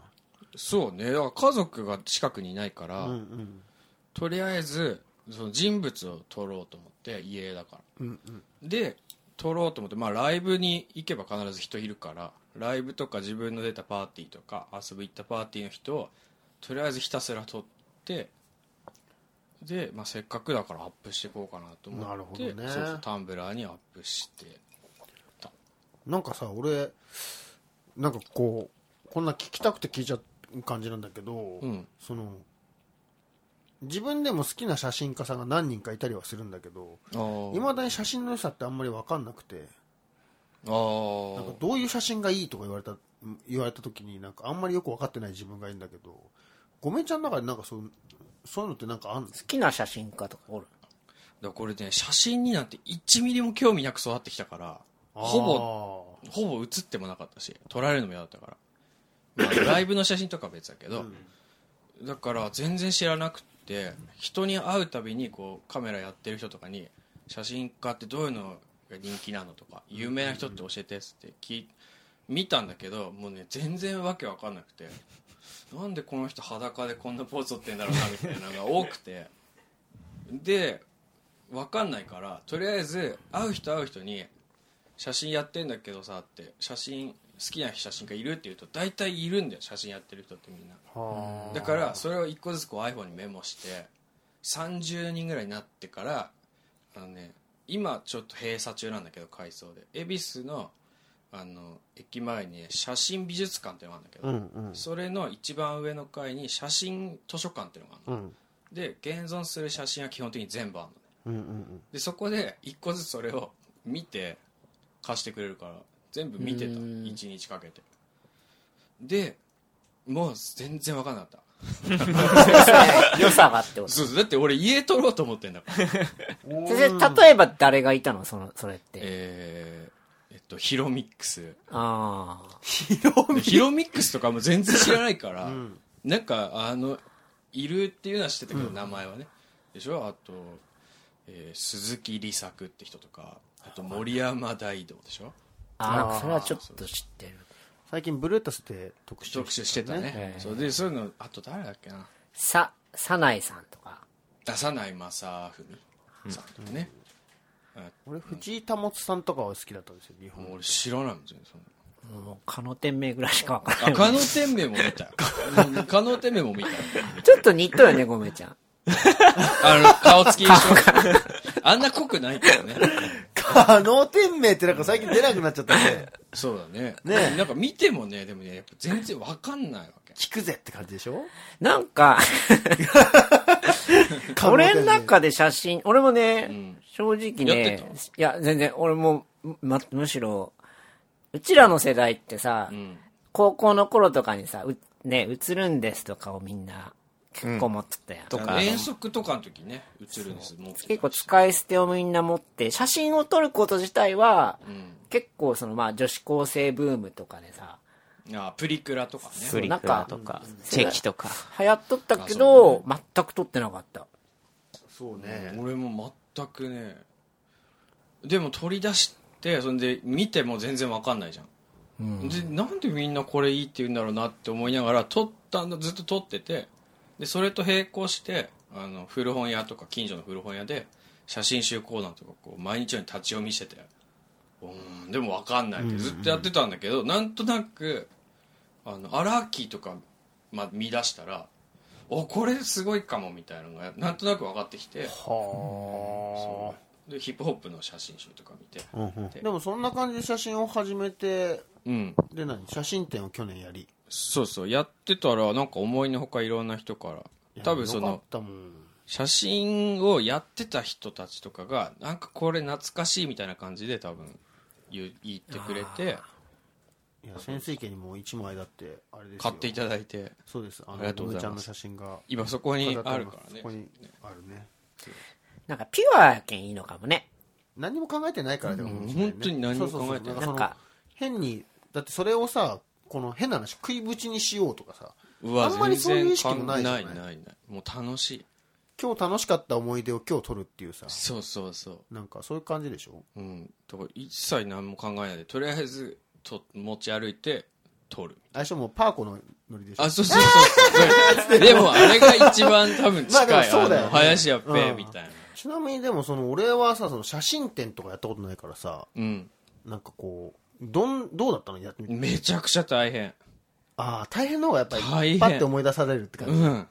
[SPEAKER 6] そうねだから家族が近くにいないから、
[SPEAKER 1] ゃん、うん
[SPEAKER 6] とりあえずその人物を撮ろうと思って家だから
[SPEAKER 1] うんうんうん
[SPEAKER 6] で撮ろうと思って、まあ、ライブに行けば必ず人いるからライブとか自分の出たパーティーとか遊び行ったパーティーの人をとりあえずひたすら撮ってで、まあ、せっかくだからアップしていこうかなと思って
[SPEAKER 1] なるほどね
[SPEAKER 6] そうそうタンブラーにアップして
[SPEAKER 1] なんかさ俺なんかこうこんな聞きたくて聞いちゃう感じなんだけど、
[SPEAKER 6] うん
[SPEAKER 1] その自分でも好きな写真家さんが何人かいたりはするんだけどいまだに写真の良さってあんまり分かんなくて
[SPEAKER 6] あー
[SPEAKER 1] なんかどういう写真がいいとか言われた言われた時になんかあんまりよく分かってない自分がいいんだけどごめんちゃんの中でなんかそうそういうのってなんかあんの
[SPEAKER 2] 好きな写真家とかおる
[SPEAKER 6] だからこれね写真になんて1ミリも興味なく育ってきたからほぼ
[SPEAKER 1] ぼ
[SPEAKER 6] ほぼ写ってもなかったし撮られるのも嫌だったから、まあ、ライブの写真とかは別だけど、だから全然知らなくて人に会うたびにこうカメラやってる人とかに写真家ってどういうのが人気なのとか有名な人って教えてっつって聞い見たんだけどもうね全然わけわかんなくてなんでこの人裸でこんなポーズ撮ってんだろうなみたいなのが多くてでわかんないからとりあえず会う人会う人に写真やってんだけどさって写真好きな写真家いるって言うと大体いるんだよ写真やってる人ってみんな
[SPEAKER 1] は
[SPEAKER 6] だからそれを一個ずつこう iPhone にメモして30人ぐらいになってからあのね今ちょっと閉鎖中なんだけど改装で恵比寿のあの駅前にね写真美術館っていうのがあるんだけど、
[SPEAKER 1] うんうん
[SPEAKER 6] それの一番上の階に写真図書館っていうのがあ
[SPEAKER 1] う
[SPEAKER 6] るの、
[SPEAKER 1] ん
[SPEAKER 6] で現存する写真は基本的に全部あるのね
[SPEAKER 1] うんうん
[SPEAKER 6] でそこで一個ずつそれを見て貸してくれるから全部見てた
[SPEAKER 2] うん
[SPEAKER 6] 1日かけてでもう全然分かんなかった
[SPEAKER 2] 良さが ってこと
[SPEAKER 6] そうそうだって俺家取ろうと思ってんだから
[SPEAKER 2] それで例えば誰がいたのその、それって。
[SPEAKER 6] えー、えっとヒロミックス
[SPEAKER 2] ああ。
[SPEAKER 6] でヒロミックスとかも全然知らないから、
[SPEAKER 1] ん
[SPEAKER 6] なんかあのいるっていうのは知ってたけど、名前はねでしょあと、えー鈴木利作って人とかあと森山大道でしょ
[SPEAKER 2] あーなんかそれはちょっと知ってる。
[SPEAKER 1] 最近ブルータスで特集
[SPEAKER 6] 特集してたねそうでそういうのあと誰だっけな
[SPEAKER 2] さ、さないさんとか。
[SPEAKER 6] 出さない正文さんとかね、
[SPEAKER 1] 俺藤井保さんとかは好きだったんですよ日本
[SPEAKER 6] もう俺知らないもん全然そんな
[SPEAKER 2] もう、蚊の店名ぐらいしかわからない。
[SPEAKER 6] あ加納天明も見たようん加納天明も見たよ
[SPEAKER 2] ちょっと似たよね、ごめちゃん。
[SPEAKER 6] あの顔つき一緒あんな濃くないけどね
[SPEAKER 1] 可能店名ってなんか最近出なくなっちゃった ね
[SPEAKER 6] そうだね
[SPEAKER 1] ね
[SPEAKER 6] なんか見てもねでもねやっぱ全然わかんないわけ
[SPEAKER 1] 聞くぜって感じでしょ
[SPEAKER 2] なん か、俺の中で写真、俺もね、
[SPEAKER 6] ん
[SPEAKER 2] 正直
[SPEAKER 6] やって
[SPEAKER 2] ね
[SPEAKER 6] た、
[SPEAKER 2] いや、全然、俺も、ま、むしろ、うちらの世代ってさ、
[SPEAKER 6] うん
[SPEAKER 2] 高校の頃とかにさ、うね、映るんですとかをみんな、結構持ってたやん。
[SPEAKER 3] と
[SPEAKER 6] あの
[SPEAKER 3] か、
[SPEAKER 6] 遠足とかの時ね映るんですもう
[SPEAKER 2] 結構使い捨てをみんな持って、写真を撮ること自体は、
[SPEAKER 6] うん
[SPEAKER 2] 結構そのまあ女子高生ブームとかでさ、
[SPEAKER 6] あプリクラとかね
[SPEAKER 3] プリクラとか、チェキとか。
[SPEAKER 2] 流行っとったけど、全く撮ってなかった。
[SPEAKER 1] そうね
[SPEAKER 6] 俺も全くねでも取り出してそんで見ても全然わかんないじゃん、でなんでみんなこれいいって言うんだろうなって思いながら撮ったんだずっと撮っててでそれと並行してあの古本屋とか近所の古本屋で写真集コーナーとかこう毎日のように立ち読みしててうんでもわかんないってずっとやってたんだけど、なんとなくあの荒木とか、ま、見出したらおこれすごいかもみたいなのがなんとなく分かってきて
[SPEAKER 1] は
[SPEAKER 6] そうでヒップホップの写真集とか見て
[SPEAKER 1] あ、うんうんでもそんな感じで写真を始めて
[SPEAKER 6] うん
[SPEAKER 1] で何写真展を去年やり
[SPEAKER 6] そうそうやってたらなんか思いのほかいろんな人から多分そ
[SPEAKER 1] よかっ
[SPEAKER 6] の
[SPEAKER 1] たもん
[SPEAKER 6] 写真をやってた人たちとかがなんかこれ懐かしいみたいな感じで多分言う言ってくれて
[SPEAKER 1] いや潜水家にも一枚だってあれですよ
[SPEAKER 6] 買っていただいて
[SPEAKER 1] そうですあ
[SPEAKER 6] あ
[SPEAKER 1] の
[SPEAKER 6] りがとうございます
[SPEAKER 1] のぶちゃんの写真が
[SPEAKER 6] 今そこに
[SPEAKER 1] 飾って
[SPEAKER 6] あ
[SPEAKER 1] あり
[SPEAKER 6] る
[SPEAKER 1] ます
[SPEAKER 6] からね
[SPEAKER 1] ここにあるね
[SPEAKER 2] なんかピュアやけんいいのかもね。
[SPEAKER 1] 何も考えてないからだよ、
[SPEAKER 6] ん本当に何も考えてない
[SPEAKER 1] そうそうそうその
[SPEAKER 2] なんか
[SPEAKER 1] 変にだってそれをさこの変な話食いぶちにしようとかさ
[SPEAKER 6] うわ
[SPEAKER 1] あんまりそういう意識もない
[SPEAKER 6] 全
[SPEAKER 1] じゃな
[SPEAKER 6] 然
[SPEAKER 1] い
[SPEAKER 6] かんないないないもう楽しい
[SPEAKER 1] 今日楽しかった思い出を今日撮るっていうさ
[SPEAKER 6] そうそうそ
[SPEAKER 1] なんかそういう感じでしょ
[SPEAKER 6] ううんだから一切何も考えないでとりあえずと持ち歩いて撮る
[SPEAKER 1] 相性もパーコのノリでしょ
[SPEAKER 6] あそうそうそ うそうでもあれが一番多分近い、
[SPEAKER 1] まあでもそうだよね
[SPEAKER 6] あの林家ペー
[SPEAKER 1] うん
[SPEAKER 6] みたいな
[SPEAKER 1] ちなみにでもその俺はさその写真展とかやったことないからさ
[SPEAKER 6] うん、
[SPEAKER 1] なんかこうどんどうだったのやってみて
[SPEAKER 6] めちゃくちゃ大変
[SPEAKER 1] ああ大変の方がやっぱ
[SPEAKER 6] 大
[SPEAKER 1] り
[SPEAKER 6] 変
[SPEAKER 1] パッて思い出されるって感
[SPEAKER 6] う
[SPEAKER 1] じ、
[SPEAKER 6] ん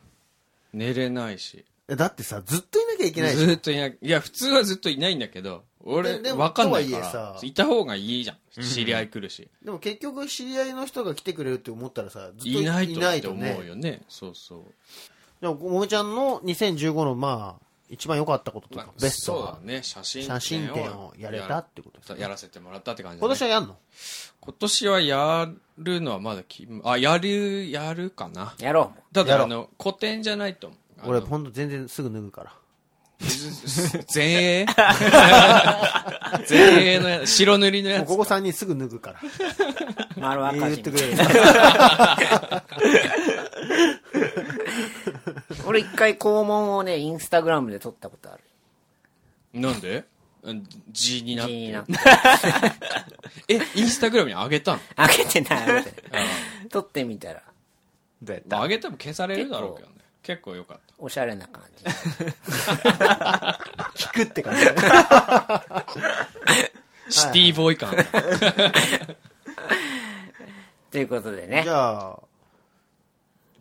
[SPEAKER 6] 寝れないし
[SPEAKER 1] えだってさずっといなきゃいけない
[SPEAKER 6] ず
[SPEAKER 1] し
[SPEAKER 6] っといないいや普通はずっといないんだけど俺
[SPEAKER 1] ででも
[SPEAKER 6] 分かんないか
[SPEAKER 1] とは
[SPEAKER 6] ら
[SPEAKER 1] いえさ
[SPEAKER 6] いた方がいいじゃん知り合い来るし、
[SPEAKER 1] でも結局知り合いの人が来てくれるって思ったらさずっと
[SPEAKER 6] いない
[SPEAKER 1] いな
[SPEAKER 6] と
[SPEAKER 1] い
[SPEAKER 6] って
[SPEAKER 1] と
[SPEAKER 6] 思
[SPEAKER 1] ね
[SPEAKER 6] うよねそうそう
[SPEAKER 1] でももめちゃんの2015のまあ一番良かったことと
[SPEAKER 6] ま
[SPEAKER 1] か、
[SPEAKER 6] あ
[SPEAKER 1] ベスト
[SPEAKER 6] そうだね写真
[SPEAKER 1] 写真展をやれたってことです
[SPEAKER 6] や
[SPEAKER 1] ね
[SPEAKER 6] らせてもらったって感じだね、
[SPEAKER 1] 今年はやんの
[SPEAKER 6] 今年はやるのはまだきあやるやるかな
[SPEAKER 2] やろう。
[SPEAKER 6] た
[SPEAKER 1] やろう
[SPEAKER 6] だあの古典じゃないと思うあの
[SPEAKER 1] 俺ほんと全然すぐ脱ぐから
[SPEAKER 6] 前衛 前衛のや白塗りの
[SPEAKER 1] も
[SPEAKER 6] や
[SPEAKER 1] う
[SPEAKER 6] つ
[SPEAKER 1] ここ3人すぐ脱ぐ から
[SPEAKER 2] 丸赤
[SPEAKER 1] 言っ
[SPEAKER 2] 字
[SPEAKER 1] て
[SPEAKER 2] み
[SPEAKER 1] く
[SPEAKER 2] たい
[SPEAKER 1] れる
[SPEAKER 2] な。 俺一回肛門をね、インスタグラムで撮ったことある。
[SPEAKER 6] なんでうん字になっ
[SPEAKER 2] 気に
[SPEAKER 6] て
[SPEAKER 2] な
[SPEAKER 6] る
[SPEAKER 2] って。
[SPEAKER 6] えインスタグラムに上げたの
[SPEAKER 2] 開けてな い、開けてない。撮ってみたら、
[SPEAKER 3] どうやっ
[SPEAKER 6] まあ
[SPEAKER 3] た
[SPEAKER 6] 上げても消されるだろうけどね結構良かった
[SPEAKER 2] おしゃれな感じ。
[SPEAKER 1] 聞くって感じ
[SPEAKER 6] シティボーイ感
[SPEAKER 2] ということでね
[SPEAKER 1] じ。ゃあ、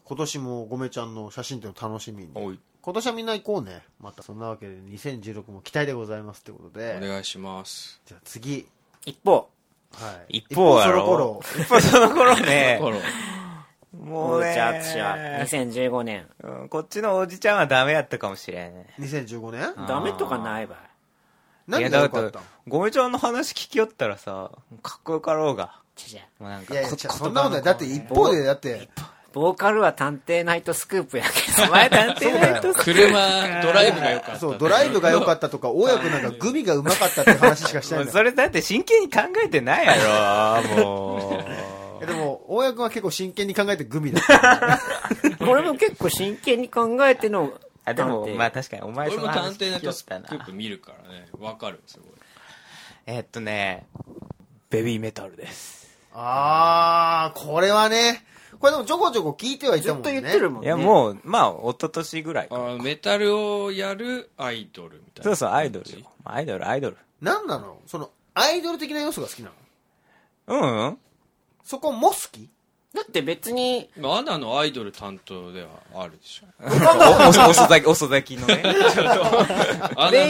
[SPEAKER 1] 今年もごめちゃんの写真展を楽しみに。
[SPEAKER 6] おい
[SPEAKER 1] 今年はみんな行こうね。またそんなわけで2016も期待でございますということ
[SPEAKER 6] お
[SPEAKER 1] で。
[SPEAKER 6] 願いし ます
[SPEAKER 1] じゃあ次。
[SPEAKER 2] 一方、
[SPEAKER 1] はい。
[SPEAKER 3] 一方や
[SPEAKER 1] そ
[SPEAKER 3] ろ
[SPEAKER 1] の頃、
[SPEAKER 3] 一方その頃 ね
[SPEAKER 6] ほら
[SPEAKER 3] も
[SPEAKER 2] 大
[SPEAKER 3] う
[SPEAKER 2] 内
[SPEAKER 3] ね
[SPEAKER 2] 淳は2015年、
[SPEAKER 3] うんこっちのおじちゃんはダメやったかもしれんね
[SPEAKER 1] 2015年
[SPEAKER 2] ダメとかないばい。
[SPEAKER 1] 何
[SPEAKER 3] いや
[SPEAKER 1] が
[SPEAKER 3] だ
[SPEAKER 1] 良
[SPEAKER 3] か
[SPEAKER 1] からったの
[SPEAKER 3] ごめちゃんの話聞きよったらさかっこよかろうが
[SPEAKER 2] ちゃちゃ
[SPEAKER 3] もうなんか
[SPEAKER 1] いやいや、違
[SPEAKER 3] こ
[SPEAKER 1] うそんなことない。だって一方で、だって、
[SPEAKER 2] ボーカルは探偵ナイトスクープやけど、お 前探偵ナイトスクー
[SPEAKER 6] 車ドライブが良かった
[SPEAKER 1] そう、ドライブが良かったとか、大家君なんかグミがうまかったって話しかしてな
[SPEAKER 3] も
[SPEAKER 1] いうの
[SPEAKER 3] それだって真剣に考えてないやろも
[SPEAKER 1] いやでも、大家君は結構真剣に考えてグミだった。
[SPEAKER 2] プ。俺も結構真剣に考えての、
[SPEAKER 3] うでも
[SPEAKER 2] 探偵
[SPEAKER 3] まあ確かにお前
[SPEAKER 6] 俺
[SPEAKER 3] そ
[SPEAKER 6] も
[SPEAKER 3] の
[SPEAKER 6] 探
[SPEAKER 3] 話
[SPEAKER 6] 偵ナ
[SPEAKER 3] 聞
[SPEAKER 6] イ
[SPEAKER 3] きよっ
[SPEAKER 6] トスク
[SPEAKER 3] たな
[SPEAKER 6] ープ見るからねわかるすごい
[SPEAKER 3] えっとねベビーメタルです
[SPEAKER 1] あー、これはね、これでもちょこちょこ聞いてはい
[SPEAKER 2] ず
[SPEAKER 1] た
[SPEAKER 2] っ
[SPEAKER 1] もん
[SPEAKER 2] と
[SPEAKER 1] ね。
[SPEAKER 2] 言ってるもん
[SPEAKER 3] い
[SPEAKER 2] ね。
[SPEAKER 3] やもうまあ一昨年ぐらいか
[SPEAKER 6] あメタルをやるアイドルみたいな
[SPEAKER 3] そうそうアイドルよアイドルアイドル
[SPEAKER 1] なんなのその、アイドル的な要素が好きなの
[SPEAKER 3] うんうん
[SPEAKER 1] そこも好き
[SPEAKER 2] だって別に、
[SPEAKER 6] まあアナのアイドル担当ではあるでしょ
[SPEAKER 3] おお遅咲き遅咲きの ね
[SPEAKER 2] ベイビ
[SPEAKER 6] アナのアイドル担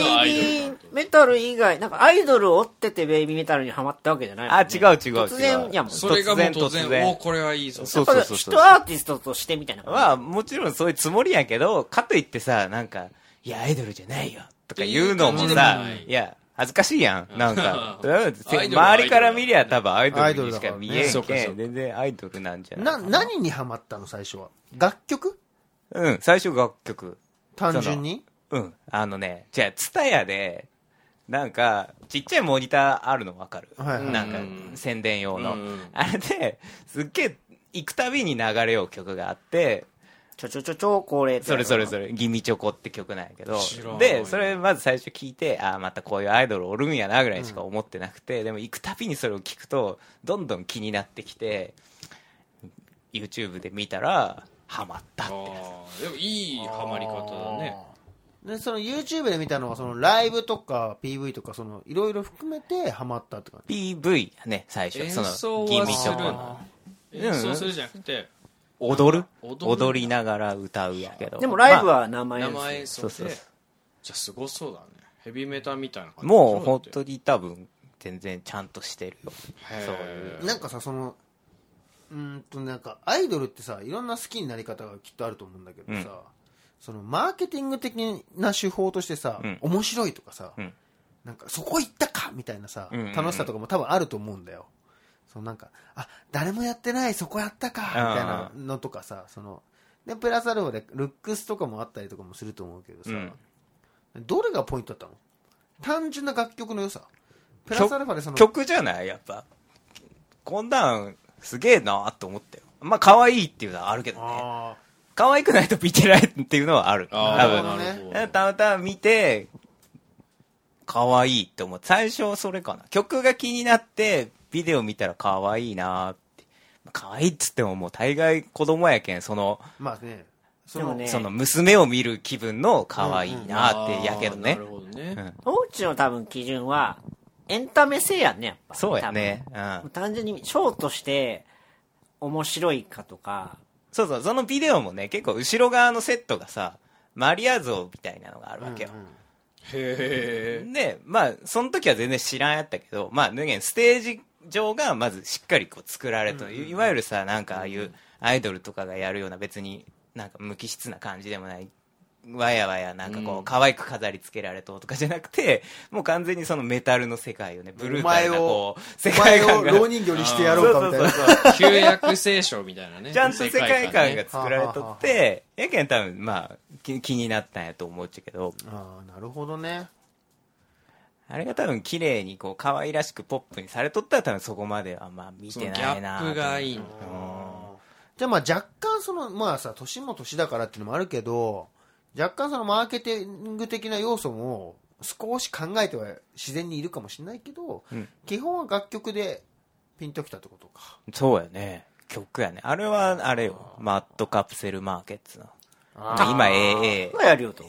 [SPEAKER 2] ーメタル以外、なんかアイドルを追っててベイビーメタルにハマったわけじゃないもん
[SPEAKER 3] あ
[SPEAKER 2] ね、
[SPEAKER 3] 違う違う違う
[SPEAKER 2] 突然やもん。
[SPEAKER 6] 当それがもう突
[SPEAKER 3] 突
[SPEAKER 6] 然
[SPEAKER 3] 然
[SPEAKER 6] おおこれはいいぞ
[SPEAKER 3] そう
[SPEAKER 2] だか
[SPEAKER 3] そう
[SPEAKER 2] ら
[SPEAKER 3] そう
[SPEAKER 2] 一
[SPEAKER 3] そう
[SPEAKER 2] アーティストとしてみたいな感じ。
[SPEAKER 3] はもちろんそういうつもりやけどかといってさなんか「いやアイドルじゃないよ」とか言うのも
[SPEAKER 6] ってい
[SPEAKER 3] さ
[SPEAKER 6] う感じでもない
[SPEAKER 3] いや恥ずかしいやんなん か
[SPEAKER 6] アイドルは
[SPEAKER 3] せ周りから見りゃ多分アイ
[SPEAKER 1] アイド
[SPEAKER 3] ド
[SPEAKER 1] ル
[SPEAKER 3] ルに
[SPEAKER 1] だか
[SPEAKER 3] しから
[SPEAKER 1] ね
[SPEAKER 3] 見えん
[SPEAKER 6] そうか
[SPEAKER 3] け
[SPEAKER 6] そうん
[SPEAKER 3] 全然アイドルなんじゃない
[SPEAKER 1] な、何にハマったの最初は。楽曲
[SPEAKER 3] うん最初楽曲
[SPEAKER 1] 単純に
[SPEAKER 3] うんあのねじゃあツタヤでなんかちっちゃいモニターあるの分かる、
[SPEAKER 1] はいはい
[SPEAKER 3] なんか
[SPEAKER 6] うん
[SPEAKER 3] 宣伝用の、
[SPEAKER 6] うん
[SPEAKER 3] あれですっげえ行くたびに流れよう曲があって
[SPEAKER 2] ちょちょちょちょ、これ。
[SPEAKER 3] それそれそれ、ギミチョコって曲なんやけど
[SPEAKER 6] 知らん、
[SPEAKER 3] で、それまず最初聞いて、ああ、またこういうアイドルおるんやなぐらいしか思ってなくて、でも行くたびにそれを聞くと、どんどん気になってきて、YouTube で見たら、ハマったっ
[SPEAKER 6] あ
[SPEAKER 3] てや
[SPEAKER 6] ーでもいいハマり方だね
[SPEAKER 1] で、その YouTube で見たのは、そのライブとか PV とか、その、いろいろ含めてハマったって感
[SPEAKER 3] つ。PV やね、最初。
[SPEAKER 6] 演
[SPEAKER 3] そ
[SPEAKER 6] 奏
[SPEAKER 3] の、ギ
[SPEAKER 6] は
[SPEAKER 3] ミチ
[SPEAKER 6] する
[SPEAKER 3] ョコ
[SPEAKER 6] の
[SPEAKER 3] の。
[SPEAKER 6] 演奏するじゃなくて
[SPEAKER 3] 踊る
[SPEAKER 6] 踊る
[SPEAKER 3] 踊りながら歌うやけど。
[SPEAKER 2] でもライブ
[SPEAKER 3] まあ
[SPEAKER 2] は生演
[SPEAKER 6] 生演
[SPEAKER 2] 奏。
[SPEAKER 6] 奏
[SPEAKER 3] そうそう
[SPEAKER 6] で
[SPEAKER 3] そう
[SPEAKER 6] じゃあすごそうだねヘビメタみたいな感じ
[SPEAKER 3] もう本
[SPEAKER 6] に
[SPEAKER 3] 当に多分、全然ちゃんとしてるよ。そういう。
[SPEAKER 1] じ。なんかさ、その、うーんと、なんか、アイドルってさ、いろんな好きになり方がきっとあると思うんだけどさ、その、マーケティング的な手法としてさ、
[SPEAKER 3] うん
[SPEAKER 1] 面白いとかさ、
[SPEAKER 3] うん
[SPEAKER 1] なんか、そこ行ったかみたいなさ、
[SPEAKER 3] うんうんうん
[SPEAKER 1] 楽しさとかも多分あると思うんだよ。そのなんか、あ、誰もやってない、そこやったか、みたいなのとかさ、その、で、プラスアルファでルックスとかもあったりとかもすると思うけどさ、
[SPEAKER 3] うん
[SPEAKER 1] どれがポイントだったの単純な楽曲の良さ。プラスアルファでその、
[SPEAKER 3] 曲じゃないやっぱ。こんなん、すげえなと思ったよ。まあ、可愛いっていうのはあるけどね。
[SPEAKER 1] あ
[SPEAKER 3] 可愛くないと見てないっていうのはある。多
[SPEAKER 1] ー
[SPEAKER 3] 分。
[SPEAKER 1] なる
[SPEAKER 3] たまたま見て、可愛いって思う。最初はそれかな。曲が気になって、ビデオ見たら可愛いなって。まあ可愛いっつってももう大概子供やけん、その、
[SPEAKER 1] ーまあね、そ
[SPEAKER 2] でも
[SPEAKER 1] の、
[SPEAKER 2] ね
[SPEAKER 3] その娘を見る気分の可愛いなってやけど
[SPEAKER 6] あー
[SPEAKER 3] ね
[SPEAKER 6] なる。ほどね。
[SPEAKER 3] うん
[SPEAKER 2] おうちの多分基準は、エンタメ性やんね、やっぱ。
[SPEAKER 3] そうやね。う
[SPEAKER 2] 多分。
[SPEAKER 3] ん。
[SPEAKER 2] 単純に、ショーとして、面白いかとか、
[SPEAKER 3] そうそう、そのビデオもね、結構後ろ側のセットがさ、マリア像みたいなのがあるわけよ。
[SPEAKER 6] へえ。
[SPEAKER 3] で、まあ、その時は全然知らんやったけど、まあ、ね、ステージ上がまずしっかりこう作られと、いわゆるさ、なんかああいうアイドルとかがやるような別になんか無機質な感じでもない、わやわやなんかこう可愛く飾り付けられととかじゃなくて、もう完全にそのメタルの世界をね、ブルータルなこう、世
[SPEAKER 1] お前
[SPEAKER 3] 界
[SPEAKER 1] を
[SPEAKER 3] 観が。
[SPEAKER 1] 老人形にしてやろうかみたいな。
[SPEAKER 6] 旧約聖書みたいな ね。
[SPEAKER 3] ちゃんと世界観が
[SPEAKER 6] ね
[SPEAKER 3] 作られとって、やけん多分まあ気気になったんやと思うっちゃけど、
[SPEAKER 1] ああ、なるほどね。
[SPEAKER 3] あれが多分綺麗にこう可愛らしくポップにされとったら多分そこまではまあ見
[SPEAKER 6] その
[SPEAKER 3] て
[SPEAKER 6] ギ
[SPEAKER 3] な
[SPEAKER 6] ャ
[SPEAKER 3] いな
[SPEAKER 6] ップがいいのか
[SPEAKER 1] じゃあまあ若干その、まあさ、年も年だからっていうのもあるけど、若干そのマーケティング的な要素も少し考えては自然にいるかもしれないけど、
[SPEAKER 3] うん
[SPEAKER 1] 基本は楽曲でピンときたってことか。
[SPEAKER 3] そうやね。曲やね。あれはあれよ。マッドカプセルマーケッツの。
[SPEAKER 1] あ
[SPEAKER 3] 今 AA
[SPEAKER 2] 今。やるよと。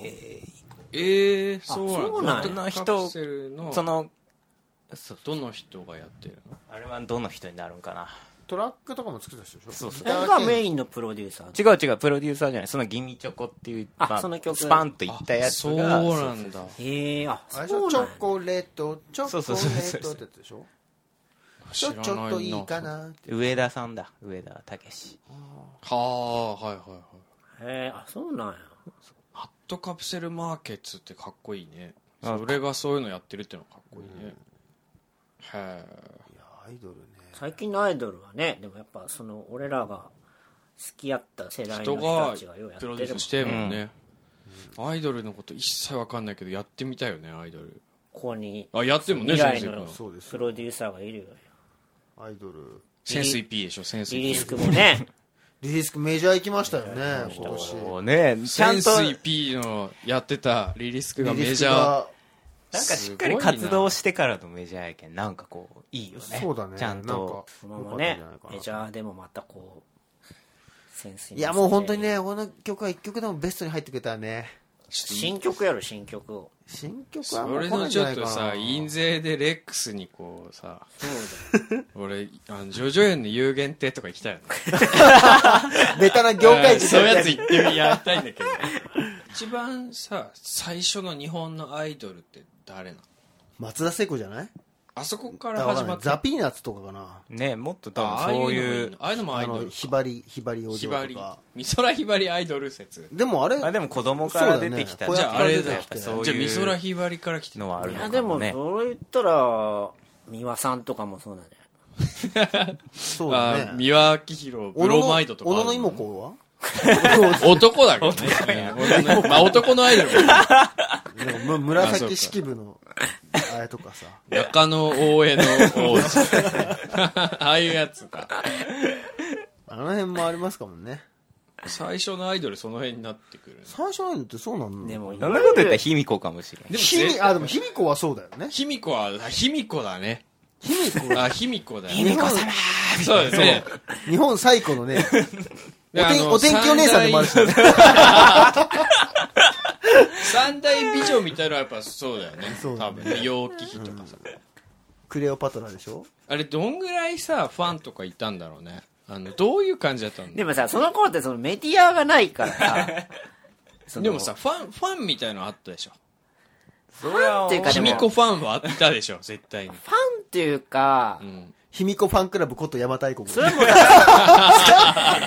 [SPEAKER 6] ええ、そうなんだ
[SPEAKER 2] そうなんや
[SPEAKER 6] どの人カプセルの
[SPEAKER 3] その、
[SPEAKER 6] どの人がやってるの
[SPEAKER 3] あれはどの人になるんかな。
[SPEAKER 1] トラックとかも作った人でしょ
[SPEAKER 3] そうそ
[SPEAKER 1] ギ
[SPEAKER 2] そ
[SPEAKER 3] う
[SPEAKER 2] れ
[SPEAKER 1] ター
[SPEAKER 2] が
[SPEAKER 1] 系
[SPEAKER 2] メインのプロデューサー。
[SPEAKER 3] 違う違う、プロデューサーじゃない。そのギミチョコっていう、
[SPEAKER 2] あその曲
[SPEAKER 3] スパンといったやつ
[SPEAKER 6] そう
[SPEAKER 3] が、
[SPEAKER 6] なんだ。
[SPEAKER 2] へえ、あ、
[SPEAKER 1] あれでし
[SPEAKER 2] そ
[SPEAKER 1] ょ
[SPEAKER 2] う
[SPEAKER 1] チ
[SPEAKER 2] なん
[SPEAKER 1] ョ
[SPEAKER 2] や
[SPEAKER 1] コレート、チョコ
[SPEAKER 3] そう
[SPEAKER 1] レ
[SPEAKER 3] そうそうそう
[SPEAKER 1] ートってやつでしょち
[SPEAKER 6] 知
[SPEAKER 1] ょ
[SPEAKER 6] らないな
[SPEAKER 1] ちょっといいか。なって。
[SPEAKER 3] 上田さんだ。上田武史。
[SPEAKER 6] はあ、はいはいはい。
[SPEAKER 2] へえ、あ、そうなんや。
[SPEAKER 6] ハットカプセルマーケッツってかっこいいね。それがそういうのやってるってのはかっこいいね。へえ。
[SPEAKER 1] いや、アイドルね。
[SPEAKER 2] 最近のアイドルはね、でもやっぱその、俺らが好きやった世代の
[SPEAKER 6] 人
[SPEAKER 2] 人
[SPEAKER 6] が
[SPEAKER 2] たちがようやって
[SPEAKER 6] プ
[SPEAKER 2] るも
[SPEAKER 6] ロ
[SPEAKER 2] ん
[SPEAKER 6] デュースしてるもんね、アイドルのこと一切わかんないけどやってみたいよねアイドル
[SPEAKER 2] ここに、
[SPEAKER 6] あやってもね
[SPEAKER 2] 未来
[SPEAKER 6] 先生
[SPEAKER 2] の
[SPEAKER 6] が
[SPEAKER 1] そうです
[SPEAKER 2] プロデューサーがいるよ。
[SPEAKER 1] アイドル。
[SPEAKER 6] センス EP でしょセンス
[SPEAKER 2] リリースク
[SPEAKER 6] EP
[SPEAKER 2] もね、
[SPEAKER 1] リリースクメジャー行きましたよね、今年。
[SPEAKER 3] そうね、ち
[SPEAKER 6] セ
[SPEAKER 3] ゃ
[SPEAKER 6] ン
[SPEAKER 3] ん
[SPEAKER 6] ス
[SPEAKER 3] と、
[SPEAKER 6] EP のやってたリリースクが
[SPEAKER 1] リリ
[SPEAKER 6] メ
[SPEAKER 1] ス
[SPEAKER 6] ジ
[SPEAKER 1] ク
[SPEAKER 6] ャー
[SPEAKER 1] が
[SPEAKER 3] なんかしっかり活動してからのメジャーやけん、なんかこう、いいよね。
[SPEAKER 1] そうだね。
[SPEAKER 3] ちゃんと。
[SPEAKER 2] こ
[SPEAKER 1] な
[SPEAKER 2] の
[SPEAKER 1] んか
[SPEAKER 2] ま
[SPEAKER 1] 良かったん
[SPEAKER 2] まね
[SPEAKER 1] じゃないか、な
[SPEAKER 2] メジャーでもまたこう、センスに
[SPEAKER 1] いや、もう本当に。ね、この曲は一曲でもベストに入ってくれたらね。
[SPEAKER 2] 新曲やろ、新曲を。
[SPEAKER 1] 新曲はも
[SPEAKER 6] そうれ
[SPEAKER 1] 来な
[SPEAKER 6] の
[SPEAKER 1] いんじ
[SPEAKER 6] ち
[SPEAKER 1] ゃ
[SPEAKER 6] ょ
[SPEAKER 1] な
[SPEAKER 6] っ
[SPEAKER 1] いか
[SPEAKER 6] と
[SPEAKER 1] な。
[SPEAKER 6] さ印税でレックスにこうさ俺あのジョジョ園の有限亭とか行きたいよね
[SPEAKER 1] ベタな業界人
[SPEAKER 6] そういうやつ行ってみやりたいんだけど一番さ最初の日本のアイドルって誰なの
[SPEAKER 1] 松田聖子じゃない
[SPEAKER 6] あそこから
[SPEAKER 1] だからわか
[SPEAKER 6] 始
[SPEAKER 1] んな
[SPEAKER 6] ま
[SPEAKER 1] い
[SPEAKER 6] った
[SPEAKER 1] ザ・ピーナッツとかかな。
[SPEAKER 3] ね、もっと多
[SPEAKER 6] ああ
[SPEAKER 3] 分そう
[SPEAKER 6] のも
[SPEAKER 3] い
[SPEAKER 6] いうの、ああいうのもア
[SPEAKER 1] あ
[SPEAKER 6] イド
[SPEAKER 1] の、
[SPEAKER 6] ル
[SPEAKER 1] ひばり、ひばりお
[SPEAKER 6] ひ
[SPEAKER 1] 嬢
[SPEAKER 6] ば
[SPEAKER 1] と
[SPEAKER 6] り
[SPEAKER 1] か。
[SPEAKER 6] 美空ひばりアイドル説
[SPEAKER 1] でもあれ、
[SPEAKER 3] あでも子供から出てきた
[SPEAKER 1] そう
[SPEAKER 6] じ
[SPEAKER 1] だ
[SPEAKER 6] ゃ
[SPEAKER 1] ね
[SPEAKER 6] ああれだ
[SPEAKER 3] や
[SPEAKER 6] よ
[SPEAKER 3] っぱそう
[SPEAKER 6] じゃあ美
[SPEAKER 3] い
[SPEAKER 6] 空
[SPEAKER 3] う
[SPEAKER 6] ひばりから来て
[SPEAKER 3] のはある
[SPEAKER 2] い
[SPEAKER 3] の
[SPEAKER 2] や、
[SPEAKER 3] か
[SPEAKER 2] で
[SPEAKER 3] も
[SPEAKER 2] も、
[SPEAKER 3] ね。
[SPEAKER 2] それ言ったら、三輪さんとかもそうなんじゃない
[SPEAKER 1] そう
[SPEAKER 6] あ
[SPEAKER 1] だね。
[SPEAKER 6] 三輪明宏ブロマイドとか
[SPEAKER 1] 小
[SPEAKER 6] あ
[SPEAKER 1] 野
[SPEAKER 6] る
[SPEAKER 1] の妹
[SPEAKER 6] の
[SPEAKER 1] 子は
[SPEAKER 6] 男だけどね男まあ男のアイドルも
[SPEAKER 1] でもむ紫式部の、あれとかさ。
[SPEAKER 6] 中野大江の王子ああいうやつか
[SPEAKER 1] あの辺もありますかもね。
[SPEAKER 6] 最初のアイドルその辺になってくるね
[SPEAKER 1] 最初のアイドルってそうなの
[SPEAKER 2] でも、
[SPEAKER 3] そんなこと言ったら卑弥呼かもしれん。
[SPEAKER 6] でも
[SPEAKER 1] ひみ、
[SPEAKER 6] ぜ
[SPEAKER 1] あ、でも卑弥呼はそうだよね。
[SPEAKER 6] 卑弥呼はあ卑弥呼だね
[SPEAKER 1] 卑弥呼
[SPEAKER 6] あ卑弥呼だ
[SPEAKER 1] 日
[SPEAKER 6] ね
[SPEAKER 1] 本
[SPEAKER 6] そうですね
[SPEAKER 1] 日本最古のね、 お
[SPEAKER 6] であ
[SPEAKER 1] 天
[SPEAKER 6] の
[SPEAKER 1] お天気お姉さんでもあるしね。
[SPEAKER 6] 三大美女みたいなのはやっぱそうだよね
[SPEAKER 1] そうだ
[SPEAKER 6] 多
[SPEAKER 1] ね
[SPEAKER 6] 分ね楊貴妃とかさ
[SPEAKER 1] クレオパトラでしょ
[SPEAKER 6] あれどんぐらいさファンとかいたんだろうねあのどういう感じだったの
[SPEAKER 2] でもさ、その頃ってそのメディアがないからさ、その
[SPEAKER 6] でもさ、、ファン、ファンみたいのあったでしょ。
[SPEAKER 3] それは
[SPEAKER 2] っていうかで
[SPEAKER 6] 卑
[SPEAKER 2] も、
[SPEAKER 6] 弥
[SPEAKER 2] ファ
[SPEAKER 6] 呼
[SPEAKER 2] ン
[SPEAKER 6] ファンはいたでしょ、絶対に。
[SPEAKER 2] っていうか
[SPEAKER 6] う、ん。
[SPEAKER 1] 卑弥呼ファンクラブこと邪馬台国。
[SPEAKER 2] それはもう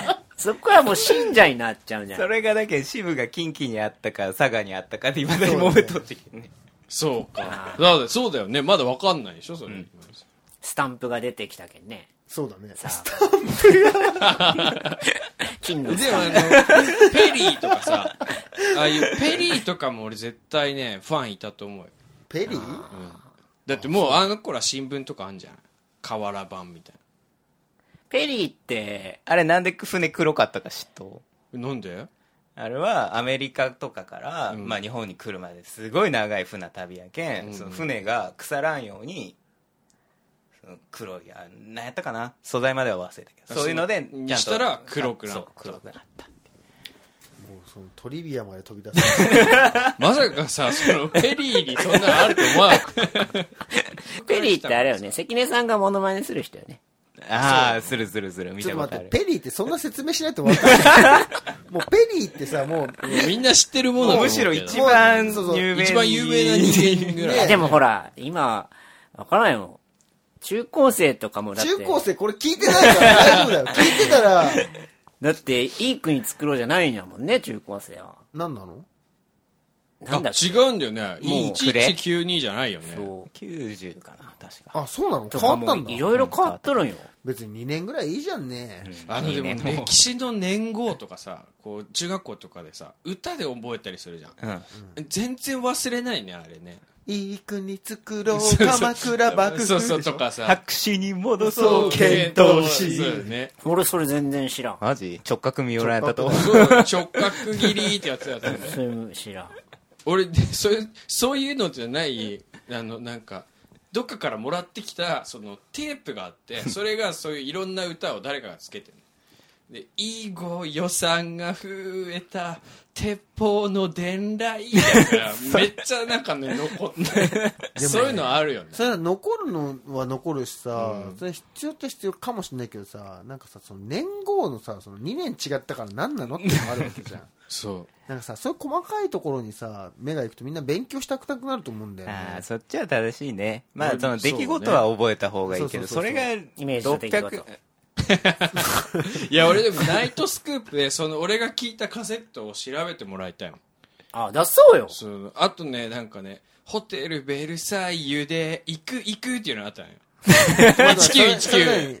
[SPEAKER 2] さ、そこはもう信者になっちゃうんじゃ
[SPEAKER 3] そ
[SPEAKER 2] ない
[SPEAKER 3] れがだけど支部が近畿にあったか佐賀にあったかでいまだに揉めとってきてね
[SPEAKER 6] そうか。だからそうだよね。まだわかんないでしょ、それ。
[SPEAKER 3] ん
[SPEAKER 2] スタンプが出てきたけんね。
[SPEAKER 1] そうだね。
[SPEAKER 2] さ 金の
[SPEAKER 6] でもあの、ペリーとかさ、ああいうペリーとかも俺絶対ね、ファンいたと思うよ。
[SPEAKER 1] ペリー
[SPEAKER 6] だってもうあの頃は新聞とかあんじゃん。瓦版みたい
[SPEAKER 2] ペリーって、
[SPEAKER 3] あれなんで船黒かったか知っと
[SPEAKER 6] な。なんで
[SPEAKER 3] あれはアメリカとかから、
[SPEAKER 6] うん
[SPEAKER 3] まあ、日本に来るまですごい長い船旅やけん、
[SPEAKER 6] うん
[SPEAKER 3] その船が腐らんようにその黒いあなんやったかな素材までは忘れたけどそういうので
[SPEAKER 6] そ
[SPEAKER 3] ちゃ
[SPEAKER 6] う
[SPEAKER 3] んと
[SPEAKER 6] したら黒くなっ
[SPEAKER 3] そう黒くなった
[SPEAKER 1] もうそのトリビアまで飛び出す。
[SPEAKER 6] まさかさ、そのペリーにそんなのあると思わなかった。
[SPEAKER 2] ペリーってあれよね、関根さんがモノマネする人よね。
[SPEAKER 3] ああするするする見
[SPEAKER 1] ちょ
[SPEAKER 3] た
[SPEAKER 1] っと
[SPEAKER 3] こ
[SPEAKER 1] 待
[SPEAKER 3] とあ
[SPEAKER 1] っ
[SPEAKER 3] る
[SPEAKER 1] て、ペリーってそんな説明しないと分かんない。もうペリーってさ、もう、
[SPEAKER 6] みんな知ってるものだと
[SPEAKER 3] む
[SPEAKER 6] 思う
[SPEAKER 3] し
[SPEAKER 6] けど
[SPEAKER 3] ろ一番
[SPEAKER 1] そうそう
[SPEAKER 3] 有名
[SPEAKER 6] 一番有名な人間ぐらい。
[SPEAKER 1] ね
[SPEAKER 2] でもほら、今、わからないもん。中高生とかもだって、
[SPEAKER 1] 中高生これ聞いてないから大丈夫だよ。聞いてたら、
[SPEAKER 2] だって、いい国作ろうじゃないんやもんね、中高生は。
[SPEAKER 1] 何なの
[SPEAKER 2] なんだっ
[SPEAKER 6] あ
[SPEAKER 2] け
[SPEAKER 6] 違うんだよね。
[SPEAKER 2] もう
[SPEAKER 6] 1192じゃないよね。
[SPEAKER 2] そう。
[SPEAKER 3] 90かな確か
[SPEAKER 1] あ、そうなの
[SPEAKER 2] と
[SPEAKER 1] 変わ
[SPEAKER 2] か
[SPEAKER 1] った
[SPEAKER 2] も
[SPEAKER 1] んだ
[SPEAKER 2] い。ろいろ変わっとるんよ。
[SPEAKER 1] 別に2年ぐらいいいじゃんね。
[SPEAKER 6] あので
[SPEAKER 3] い
[SPEAKER 6] も
[SPEAKER 3] いねもう
[SPEAKER 6] 歴史の年号とかさ、こう中学校とかでさ、歌で覚えたりするじゃん。
[SPEAKER 3] うん
[SPEAKER 6] 全然忘れないね、あれね。
[SPEAKER 1] いい国作ろう、鎌倉幕府。
[SPEAKER 6] そうそうとかさ。
[SPEAKER 3] 白紙に戻
[SPEAKER 6] そう、
[SPEAKER 1] 遣唐使
[SPEAKER 6] そうだね。
[SPEAKER 2] 俺それ全然知らん。
[SPEAKER 3] マジ直角見よられたと思う
[SPEAKER 6] そう直角切りってやつだったね。
[SPEAKER 2] それ知らん。
[SPEAKER 6] 俺、でそういう、そういうのじゃない、あの、なんか、どっかからもらってきた、その、テープがあって、それがそういういろんな歌を誰かがつけてる。で、いいご予算が増えた、鉄砲の伝来だから、めっちゃなんかね、残って、そういうのあるよね。
[SPEAKER 1] それは残るのは残るしさ、それ必要って必要かもしれないけどさ、なんかさ、その年号のさ、その2年違ったから何なのってのもあるわけ じゃん。
[SPEAKER 6] そう。
[SPEAKER 1] なんかさ、そういう細かいところにさ、目が行くとみんな勉強したくなくなると思うんだよ
[SPEAKER 3] ああ
[SPEAKER 1] ね。
[SPEAKER 3] そっちは正しいねまあ
[SPEAKER 6] うん
[SPEAKER 3] その出来事は覚えた方がいいけど
[SPEAKER 1] そ
[SPEAKER 3] そう
[SPEAKER 1] ね
[SPEAKER 3] れが
[SPEAKER 2] イメージの出来事
[SPEAKER 3] 600
[SPEAKER 6] いや、俺でも、ナイトスクープで、その、俺が聞いたカセットを調べてもらいたいもん。
[SPEAKER 2] あ、出そうよ。
[SPEAKER 6] そうあとねなんかね「ホテルベルサイユで行く行く」っていうのがあったのよ
[SPEAKER 1] 19。
[SPEAKER 2] う
[SPEAKER 6] 1919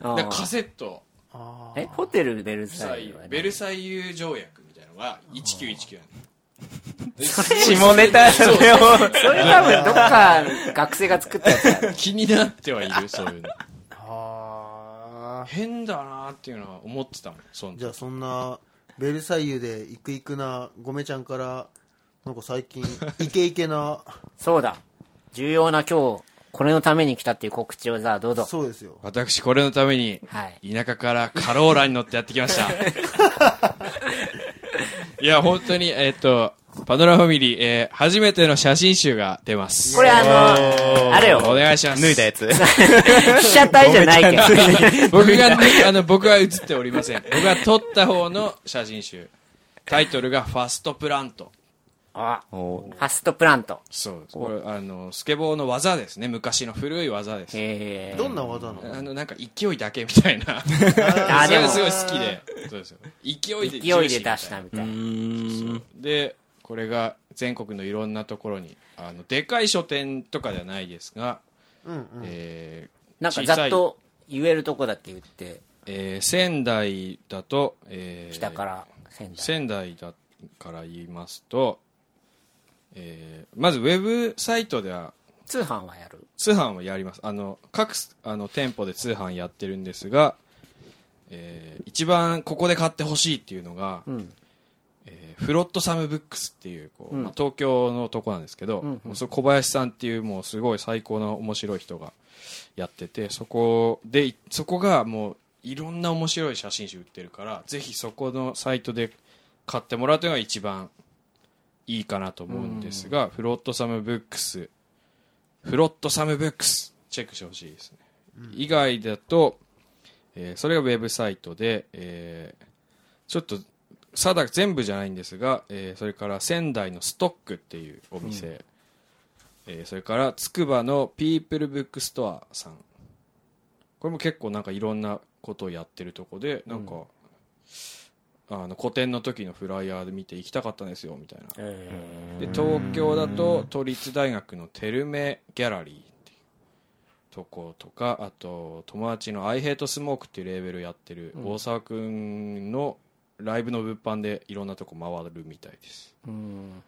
[SPEAKER 6] だ
[SPEAKER 2] ん
[SPEAKER 6] からカセット
[SPEAKER 1] あー
[SPEAKER 2] え、ホテルベル
[SPEAKER 6] ベルサ
[SPEAKER 2] サ
[SPEAKER 6] イ
[SPEAKER 2] イ
[SPEAKER 6] ユ
[SPEAKER 2] ユはね
[SPEAKER 6] ベルサイユ条約みたいなのが1919なの
[SPEAKER 3] 下ネタ
[SPEAKER 6] そう
[SPEAKER 3] それを
[SPEAKER 2] それ多分どっか学生が作ったやつやろ。
[SPEAKER 6] 気になってはいるそういうの
[SPEAKER 1] はー
[SPEAKER 6] 変だなーっていうのは思ってたもんそん
[SPEAKER 1] じゃあそんな、ベルサイユで行く行くな、ごめちゃんから、なんか最近、イケイケな、
[SPEAKER 2] そうだ。重要な今日、これのために来たっていう告知をさ、どうぞ。
[SPEAKER 1] そうですよ。
[SPEAKER 6] 私これのために
[SPEAKER 2] はい。
[SPEAKER 6] 田舎からカローラに乗ってやってきました。 いや、本当に、えっ、と、パノラファミリー、えー初めての写真集が出ます。
[SPEAKER 2] これあの、あれよ。
[SPEAKER 6] お願いします。
[SPEAKER 3] 脱いだやつ
[SPEAKER 2] 被写体じゃないけど。
[SPEAKER 6] 僕が、ね、あの、僕は写っておりません。僕が撮った方の写真集。タイトルが、ファストプラント。
[SPEAKER 2] あ、
[SPEAKER 3] お
[SPEAKER 2] ファストプラント。
[SPEAKER 6] そうです。これ、あの、スケボーの技ですね。昔の古い技です。
[SPEAKER 2] えー
[SPEAKER 1] どんな技なの
[SPEAKER 6] あの、なんか、勢いだけみたいな。
[SPEAKER 2] あ
[SPEAKER 6] そ
[SPEAKER 2] で
[SPEAKER 6] れ
[SPEAKER 2] も
[SPEAKER 6] がすごい好きで。そうですよ。勢いで
[SPEAKER 2] 勢いで出したみたいな。
[SPEAKER 6] そうでこれが全国のいろんなところにあのでかい書店とかじゃないですが、えー
[SPEAKER 2] なんか
[SPEAKER 6] 小
[SPEAKER 2] ざ
[SPEAKER 6] さ
[SPEAKER 2] っ
[SPEAKER 6] い
[SPEAKER 2] と言えるとこだけ言って、
[SPEAKER 6] えー仙台だと、えー
[SPEAKER 2] 北から仙台。
[SPEAKER 6] 仙台だから言いますと、えーまずウェブサイトでは
[SPEAKER 2] 通販はやる。
[SPEAKER 6] 通販をやりますあの各あの店舗で通販やってるんですが、えー一番ここで買ってほしいっていうのが、
[SPEAKER 2] ん
[SPEAKER 6] えーフロットサムブックスっていうこう、
[SPEAKER 2] うん
[SPEAKER 6] まあ東京のとこなんですけど、もうそれ小林さんっていうもうすごい最高の面白い人がやっててそこでそこがもういろんな面白い写真集売ってるからぜひそこのサイトで買ってもらうというのが一番いいかなと思うんですが、フロットサムブックスフロットサムブックスチェックしてほしいですね、以外だと、えーそれがウェブサイトで、えーちょっと定か全部じゃないんですが、えーそれから仙台のストックっていうお店、えーそれからつくばのピープルブックストアさんこれも結構なんかいろんなことをやってるとこでなんか、あの個展の時のフライヤーで見て行きたかったんですよみたいなで東京だと都立大学のテルメギャラリーっていうとことかあと友達の「I Hate Smoke」っていうレーベルやってる大沢くんのライブの物販でいろんなとこ回るみたいです
[SPEAKER 2] うん。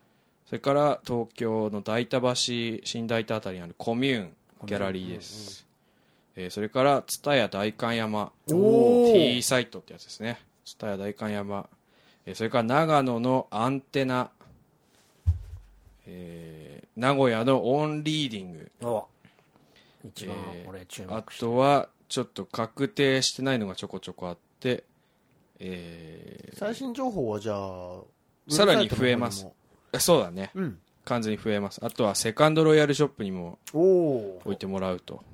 [SPEAKER 6] それから東京の代田橋新代田あたりにあるコミューンギャラリーです、えーそれから蔦屋代官山 T サイトってやつですね蔦屋代官山、えーそれから長野のアンテナ、えー名古屋のオンリーディング
[SPEAKER 2] お一番
[SPEAKER 6] えー
[SPEAKER 2] 俺注
[SPEAKER 6] あ
[SPEAKER 2] 目して
[SPEAKER 6] とはちょっと確定してないのがちょこちょこあってえ
[SPEAKER 1] 最新情報はじゃあ、
[SPEAKER 6] さらに増えます
[SPEAKER 1] ウェ
[SPEAKER 6] ーそうだね
[SPEAKER 1] ブサイトの方にも。うん。
[SPEAKER 6] 完全に増えますあとはセカンドロイヤルショップにも
[SPEAKER 1] おお
[SPEAKER 6] 置いてもらうと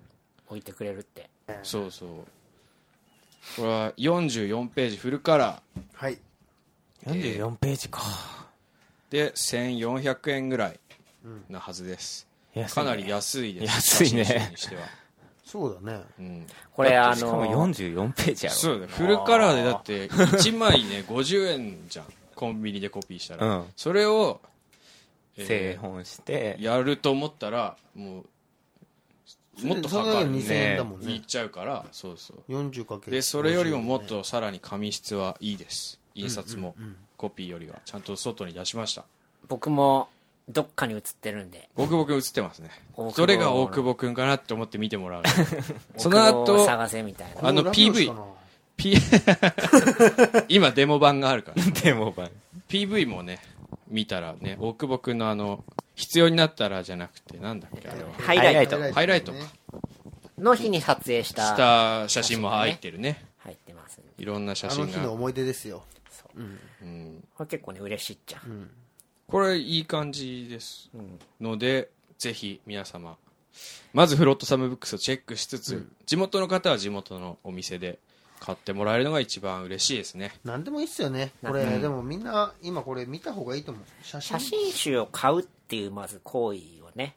[SPEAKER 2] 置いてくれるって。
[SPEAKER 6] そうそうこれは44ページフルカラー
[SPEAKER 1] はい。
[SPEAKER 3] 44ページか。
[SPEAKER 6] で1400円ぐらいなはずです、
[SPEAKER 3] 安い
[SPEAKER 6] か
[SPEAKER 3] ね
[SPEAKER 6] なり安いです
[SPEAKER 3] 安いね
[SPEAKER 6] 写真集にしては、
[SPEAKER 1] そうだね。
[SPEAKER 6] うん、
[SPEAKER 2] これあ
[SPEAKER 3] しかも
[SPEAKER 2] の、
[SPEAKER 3] 44ページやろ。
[SPEAKER 6] そうだねフルカラーでだって1枚ね50円 じゃんコンビニでコピーしたら、
[SPEAKER 3] うん
[SPEAKER 6] それを、
[SPEAKER 3] 製
[SPEAKER 6] えー
[SPEAKER 3] 本して、
[SPEAKER 6] やると思ったらもうもっと
[SPEAKER 1] そ
[SPEAKER 6] か
[SPEAKER 1] れだ
[SPEAKER 6] か
[SPEAKER 1] け
[SPEAKER 6] る
[SPEAKER 1] で
[SPEAKER 6] ね
[SPEAKER 1] 2000円だもん
[SPEAKER 6] い
[SPEAKER 1] ね。
[SPEAKER 6] っちゃうからそうそう
[SPEAKER 1] 40×。
[SPEAKER 6] でそれよりももっとさらに紙質はいいです印刷もコピーよりはちゃんと外に出しました
[SPEAKER 2] 僕もどっかに写ってるんで、
[SPEAKER 6] 大久保君映ってますね
[SPEAKER 2] 大久保
[SPEAKER 6] どれが大久保君かなって思って見ても らうその
[SPEAKER 2] 僕を
[SPEAKER 6] 後
[SPEAKER 2] 探せみたいな。
[SPEAKER 6] あの
[SPEAKER 1] こ裏表紙か
[SPEAKER 6] PV
[SPEAKER 1] な
[SPEAKER 6] P 今デモ版があるから
[SPEAKER 3] デモ版。
[SPEAKER 6] PV もね見たらね大久保君のあの必要になったらじゃなくてなんだっけあれは
[SPEAKER 2] ハイライ
[SPEAKER 3] ハ
[SPEAKER 2] ト
[SPEAKER 3] イ
[SPEAKER 1] ラ
[SPEAKER 6] ハイライトか
[SPEAKER 1] ね
[SPEAKER 2] の日に撮影した、
[SPEAKER 6] した写真も入ってるね
[SPEAKER 2] 入ってますんで。
[SPEAKER 6] いろんな写
[SPEAKER 1] あの
[SPEAKER 6] 真
[SPEAKER 1] 日の
[SPEAKER 6] が、
[SPEAKER 1] 思い出ですよ。
[SPEAKER 6] うん、
[SPEAKER 2] これ結構ね、嬉しいっちゃ。
[SPEAKER 6] これいい感じです、のでぜひ皆様まずフロットサムブックスをチェックしつつ、地元の方は地元のお店で買ってもらえるのが一番嬉しいですね
[SPEAKER 1] なんでもいいっすよね。これ、でもみんな、今これ見た方がいいと思う。写真。
[SPEAKER 2] 写真集を買うっていう、まず行為をね、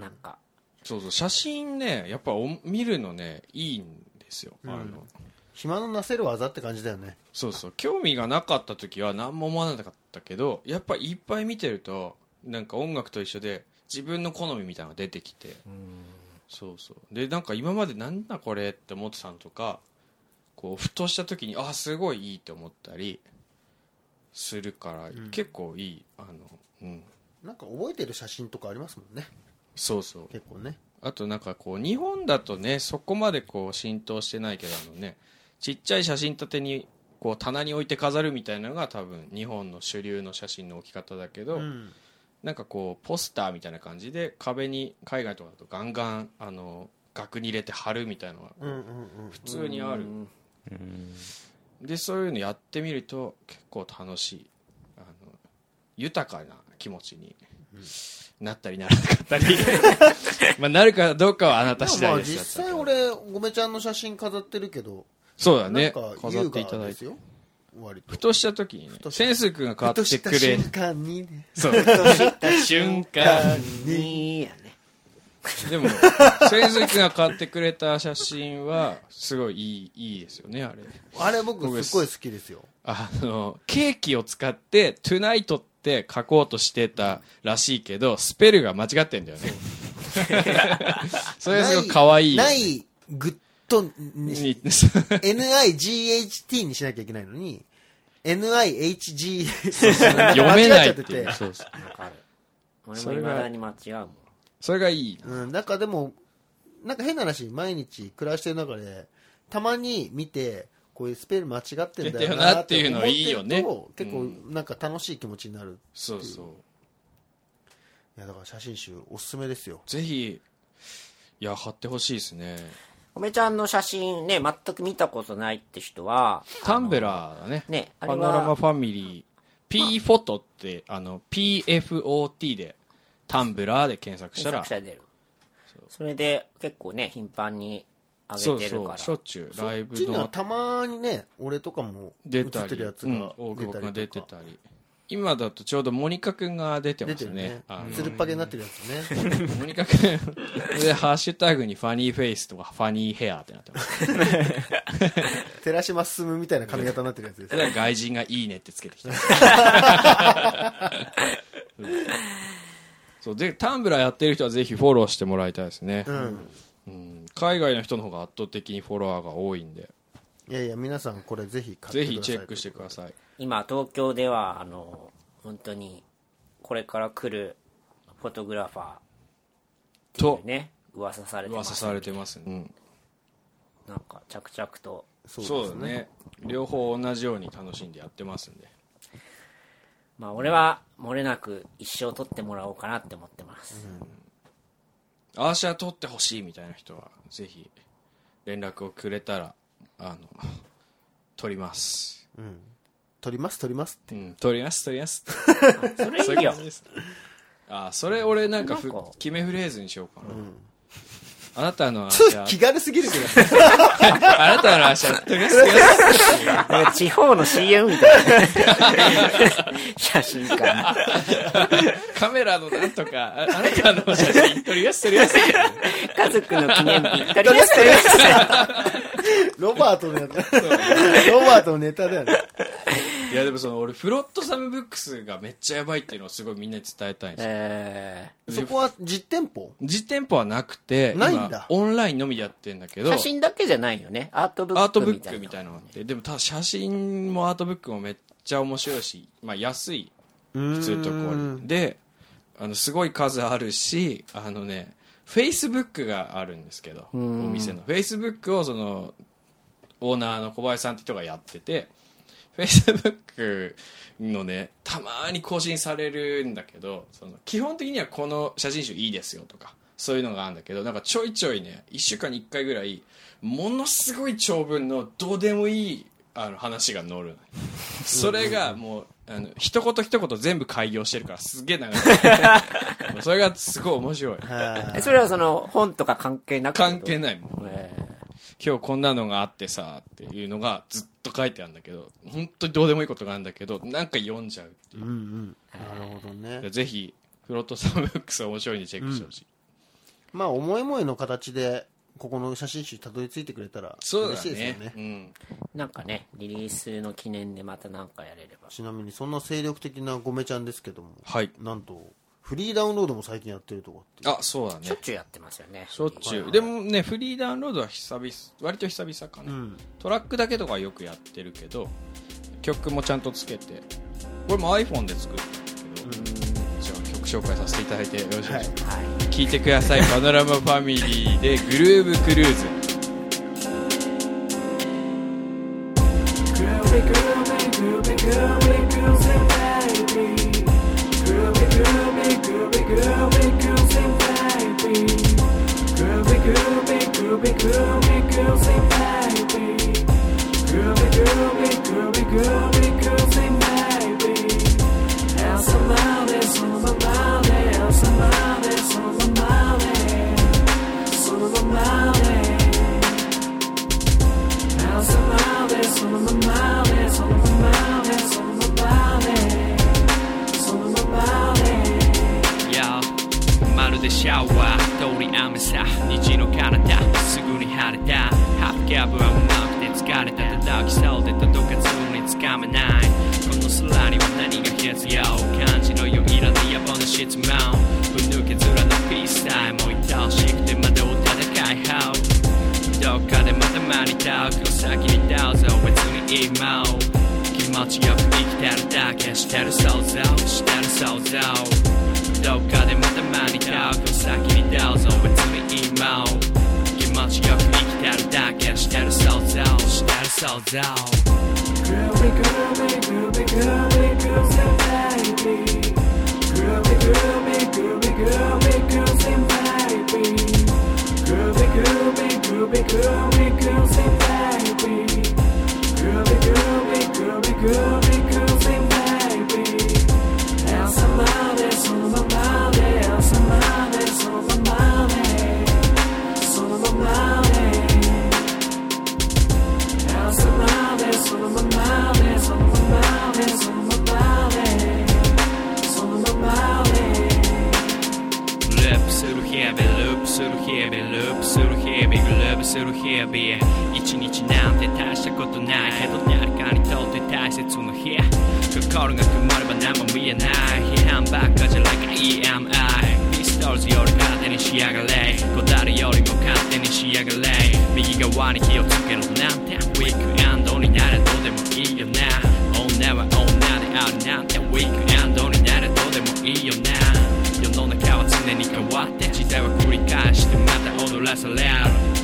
[SPEAKER 2] なんか、
[SPEAKER 6] そうそう写真ねやっぱお見るのねいいんですよ、あの
[SPEAKER 1] 暇のなせる技って感じだよね。
[SPEAKER 6] そうそう興味がなかった時は何も思わなかったけどやっぱいっぱい見てるとなんか音楽と一緒で自分の好みみたいなのが出てきてそうそうでなんか今までなんだこれって思ってたのとかこうふとした時にあすごいいいと思ったりするから、結構いいあのうん
[SPEAKER 1] なんか覚えてる写真とかありますもんね。
[SPEAKER 6] そうそう
[SPEAKER 1] 結構ね。
[SPEAKER 6] あとなんかこう日本だとねそこまでこう浸透してないけどあのねちっちゃい写真立てにこう棚に置いて飾るみたいなのが多分日本の主流の写真の置き方だけど、
[SPEAKER 1] うん。
[SPEAKER 6] なんかこうポスターみたいな感じで壁に海外とかだとガンガンあの額に入れて貼るみたいなのが
[SPEAKER 1] うんうんうん。
[SPEAKER 6] 普通にある、
[SPEAKER 3] うん
[SPEAKER 6] でそういうのやってみると結構楽しいあの豊かな気持ちになったりならなかった りまあなるかどうかはあなた次
[SPEAKER 1] ま
[SPEAKER 6] 第
[SPEAKER 1] あ
[SPEAKER 6] です
[SPEAKER 1] 実際俺、ごめちゃんの写真飾ってるけど、
[SPEAKER 6] そうだ
[SPEAKER 1] なん
[SPEAKER 6] ね
[SPEAKER 1] か
[SPEAKER 6] 飾
[SPEAKER 1] 優
[SPEAKER 6] っていた
[SPEAKER 1] 雅
[SPEAKER 6] だ
[SPEAKER 1] で
[SPEAKER 6] い
[SPEAKER 1] す
[SPEAKER 6] て
[SPEAKER 1] よ。割と
[SPEAKER 6] ふ。とした時にね
[SPEAKER 1] とした
[SPEAKER 6] センス君が買
[SPEAKER 1] ふ
[SPEAKER 6] って
[SPEAKER 1] と
[SPEAKER 6] く
[SPEAKER 1] した
[SPEAKER 6] れ
[SPEAKER 1] 瞬間にね。
[SPEAKER 6] そうふとした瞬間
[SPEAKER 2] にーやね。
[SPEAKER 6] でもセンス君が買ってくれた写真はすごいいいいいですよねあれ
[SPEAKER 1] あれ僕すっごい好きですよ。
[SPEAKER 6] あのケーキを使って「トゥナイト」って書こうとしてたらしいけどスペルが間違ってんだよねそれすごい可愛い
[SPEAKER 1] ないない、グッドにし、
[SPEAKER 6] に
[SPEAKER 1] NIGHT にしなきゃいけないのに、NIHG、
[SPEAKER 6] 読めない
[SPEAKER 1] 間違
[SPEAKER 6] ってい
[SPEAKER 1] っちゃっ
[SPEAKER 6] う
[SPEAKER 1] てて
[SPEAKER 6] そうそう
[SPEAKER 2] わかる。俺
[SPEAKER 6] そ
[SPEAKER 2] も
[SPEAKER 6] れ
[SPEAKER 2] 未
[SPEAKER 6] が
[SPEAKER 2] だに間違うもん。
[SPEAKER 6] それがいい
[SPEAKER 1] うん、なんかでも、なんか変な話、毎日暮らしてる中で、たまに見て、こういうスペル間違ってんだよなって思ってる
[SPEAKER 6] 出てるなっていうのいいよ
[SPEAKER 1] と、結構なんか楽しい気持ちになる。
[SPEAKER 6] そうそう
[SPEAKER 1] いや、だから写真集おすすめですよ。
[SPEAKER 6] ぜひいや貼ってほしいですね
[SPEAKER 2] おめちゃんの写真ね、全く見たことないって人は、
[SPEAKER 6] タンブラーだね
[SPEAKER 2] ねあれ
[SPEAKER 6] パ
[SPEAKER 2] は
[SPEAKER 6] ノラマファミリー P フォトってあの PFOT でタンブラーで検索した
[SPEAKER 2] 検
[SPEAKER 6] ら
[SPEAKER 2] 索者出る。それで結構ね、頻繁に上げてるから。
[SPEAKER 6] しょっちゅうライ
[SPEAKER 1] こっち
[SPEAKER 6] ブ
[SPEAKER 1] には
[SPEAKER 6] の
[SPEAKER 1] たまにね、俺とかも映
[SPEAKER 6] 出
[SPEAKER 1] った
[SPEAKER 6] り
[SPEAKER 1] てるやつ
[SPEAKER 6] うん
[SPEAKER 1] が
[SPEAKER 6] 大
[SPEAKER 1] 出
[SPEAKER 6] 久
[SPEAKER 1] た
[SPEAKER 6] 保
[SPEAKER 1] り
[SPEAKER 6] 君が出
[SPEAKER 1] と
[SPEAKER 6] て
[SPEAKER 1] か。
[SPEAKER 6] たり今だとちょうどモニカ君が出てま
[SPEAKER 1] 出
[SPEAKER 6] す
[SPEAKER 1] てる
[SPEAKER 6] ね
[SPEAKER 1] ね
[SPEAKER 6] あ。
[SPEAKER 1] つるっぱげになってるやつね。
[SPEAKER 6] のモニカ君でハッシュタグにファニーフェイスとかファニーヘアってなってます
[SPEAKER 1] 寺島進むみたいな髪型になってるやつです
[SPEAKER 6] そ
[SPEAKER 1] ね。
[SPEAKER 6] れは外人がいいねってつけてき たそうでタンブラーやってる人はぜひフォローしてもらいたいですね
[SPEAKER 1] うん。
[SPEAKER 6] うん海外の人の方が圧倒的にフォロワーが多いんで
[SPEAKER 1] いやいや、皆さんこれぜひ買
[SPEAKER 6] ぜ
[SPEAKER 1] ってください。
[SPEAKER 6] ひチェックしてください
[SPEAKER 2] 今東京ではあの本当にこれから来るフォトグラファーっていうね噂されてま
[SPEAKER 6] 噂
[SPEAKER 2] す
[SPEAKER 6] されてます、うん、
[SPEAKER 2] なんか着々と
[SPEAKER 6] そうだね両方同じように楽しんでやってますんで
[SPEAKER 2] まあ俺は漏れなく一生取ってもらおうかなって思ってます、
[SPEAKER 6] アーシャ撮ってほしいみたいな人はぜひ連絡をくれたらあの 撮ります、
[SPEAKER 1] 撮ります、撮ります って。
[SPEAKER 6] うん、撮ります撮ります
[SPEAKER 2] それいいよ
[SPEAKER 6] あーそれ俺なんかふ
[SPEAKER 2] なんか
[SPEAKER 6] 決めフレーズにしようかな、あなたの アー
[SPEAKER 1] ちょっ
[SPEAKER 6] シ
[SPEAKER 1] と
[SPEAKER 6] ャ
[SPEAKER 1] 気軽すぎるけど。
[SPEAKER 6] あなたのアーシャ撮ります撮ります
[SPEAKER 2] なんか地方の CM みたいな 写真か
[SPEAKER 6] カメラのなんとか、ああなたの写真撮ります、撮ります。
[SPEAKER 2] 家族の記念日撮ります撮ります
[SPEAKER 1] ロバートのやつ。ロバートのネタだよね。
[SPEAKER 6] いや、でもその、俺、フロットサムブックスがめっちゃやばいっていうのをすごいみんなに伝えたいんですよ。
[SPEAKER 2] え
[SPEAKER 1] そこは実店 舗
[SPEAKER 6] 実店舗はなくて、今
[SPEAKER 1] ないんだ
[SPEAKER 6] オンラインのみでやってんだけ
[SPEAKER 2] ー
[SPEAKER 6] ど、
[SPEAKER 2] 写真だけじゃないよねアートブ
[SPEAKER 6] アー
[SPEAKER 2] ッ
[SPEAKER 6] ト
[SPEAKER 2] ク
[SPEAKER 6] ブ
[SPEAKER 2] み
[SPEAKER 6] ッ
[SPEAKER 2] たい
[SPEAKER 6] ク
[SPEAKER 2] な
[SPEAKER 6] みたいなのがあって、でもただ写真もアートブックもめっちゃ面白いし、まあ安い、普通のところで、あの、すごい数あるし、あのね、フェイスブックがあるんですけど、お店の。フェイスブックをその、オーナーの小林さんって人がやってて、Facebook のね、たまに更新されるんだけど、その基本的にはこの写真集いいですよとか、そういうのがあるんだけど、なんかちょいちょいね、1週間に1回ぐらい、ものすごい長文のどうでもいいあの話が載るの。それがもう、あの、一言一言全部開業してるからすげえ長い。それがすごい面白い。
[SPEAKER 1] は
[SPEAKER 2] えそれはその本とか関係なく
[SPEAKER 6] 関係
[SPEAKER 2] い、
[SPEAKER 6] ないもん。
[SPEAKER 2] えー
[SPEAKER 6] 今日こんなのがあってさっていうのがずっと書いてあるんだけど本当にどうでもいいことがあるんだけどなんか読んじゃうっていう
[SPEAKER 1] い。うんうん。なるほどね。
[SPEAKER 6] ぜひフロットサムブックス面白いんでチェックしてほしい、
[SPEAKER 1] まあ、思い思いの形で、ここの写真集にたどり着いてくれたら、
[SPEAKER 6] そう
[SPEAKER 1] 嬉
[SPEAKER 6] だ
[SPEAKER 1] しい
[SPEAKER 6] ね
[SPEAKER 1] ですよね。
[SPEAKER 6] うん、
[SPEAKER 2] なんかね、リリースの記念でまたなんかやれれば。
[SPEAKER 1] ちなみに、そんな精力的なごめちゃんですけども、
[SPEAKER 6] はい
[SPEAKER 1] なんと、フリーダウンロードも最近やってるとこっていう。
[SPEAKER 6] あそうだ
[SPEAKER 2] しょっ
[SPEAKER 6] ね
[SPEAKER 2] ちゅうやってますよね。
[SPEAKER 6] しょっちゅうでもねフリーダウンロードは久々割と久々かな、
[SPEAKER 1] うん。
[SPEAKER 6] トラックだけとかはよくやってるけど曲もちゃんとつけてこれも iPhone で作ったんだけど、じゃあ曲紹介させていただいてよろしいでしょうか、聞いてくだ さいパノラマファミリーでグルーブクルーズ
[SPEAKER 7] いやまるでシャワー通り雨さ虹の体すぐに晴れたハッキャブはうまくて疲れた叩きそうで届かずにつかめないこの空には何が必要感じのよいらぬ野暮な質問ぶ抜け面のピースさえも愛おしくて窓を戦い合うどっかでまた間に倒く先にどうぞ別に今気持ちよく生きてるだけしてる想像してる想像どっかでまた間に合う先にどうぞ別に今を気持ちよく生きてるだけしてる想像してる想像 Löp する日々ループする日々ループする日々グループする日々一日なんて大したことないけど誰かにとって大切な日心が曇れば何も見えない批判ばっか E じゃなく EMI ピストルズより勝手に仕上がれこだわりよりも勝手に側に気をつけろなんてウィークエンドになれどうでもいいよな女は女であるなんてウィークエンドになれどうでもいいよな世の中は常に変わって時代は繰り返してまた踊らされる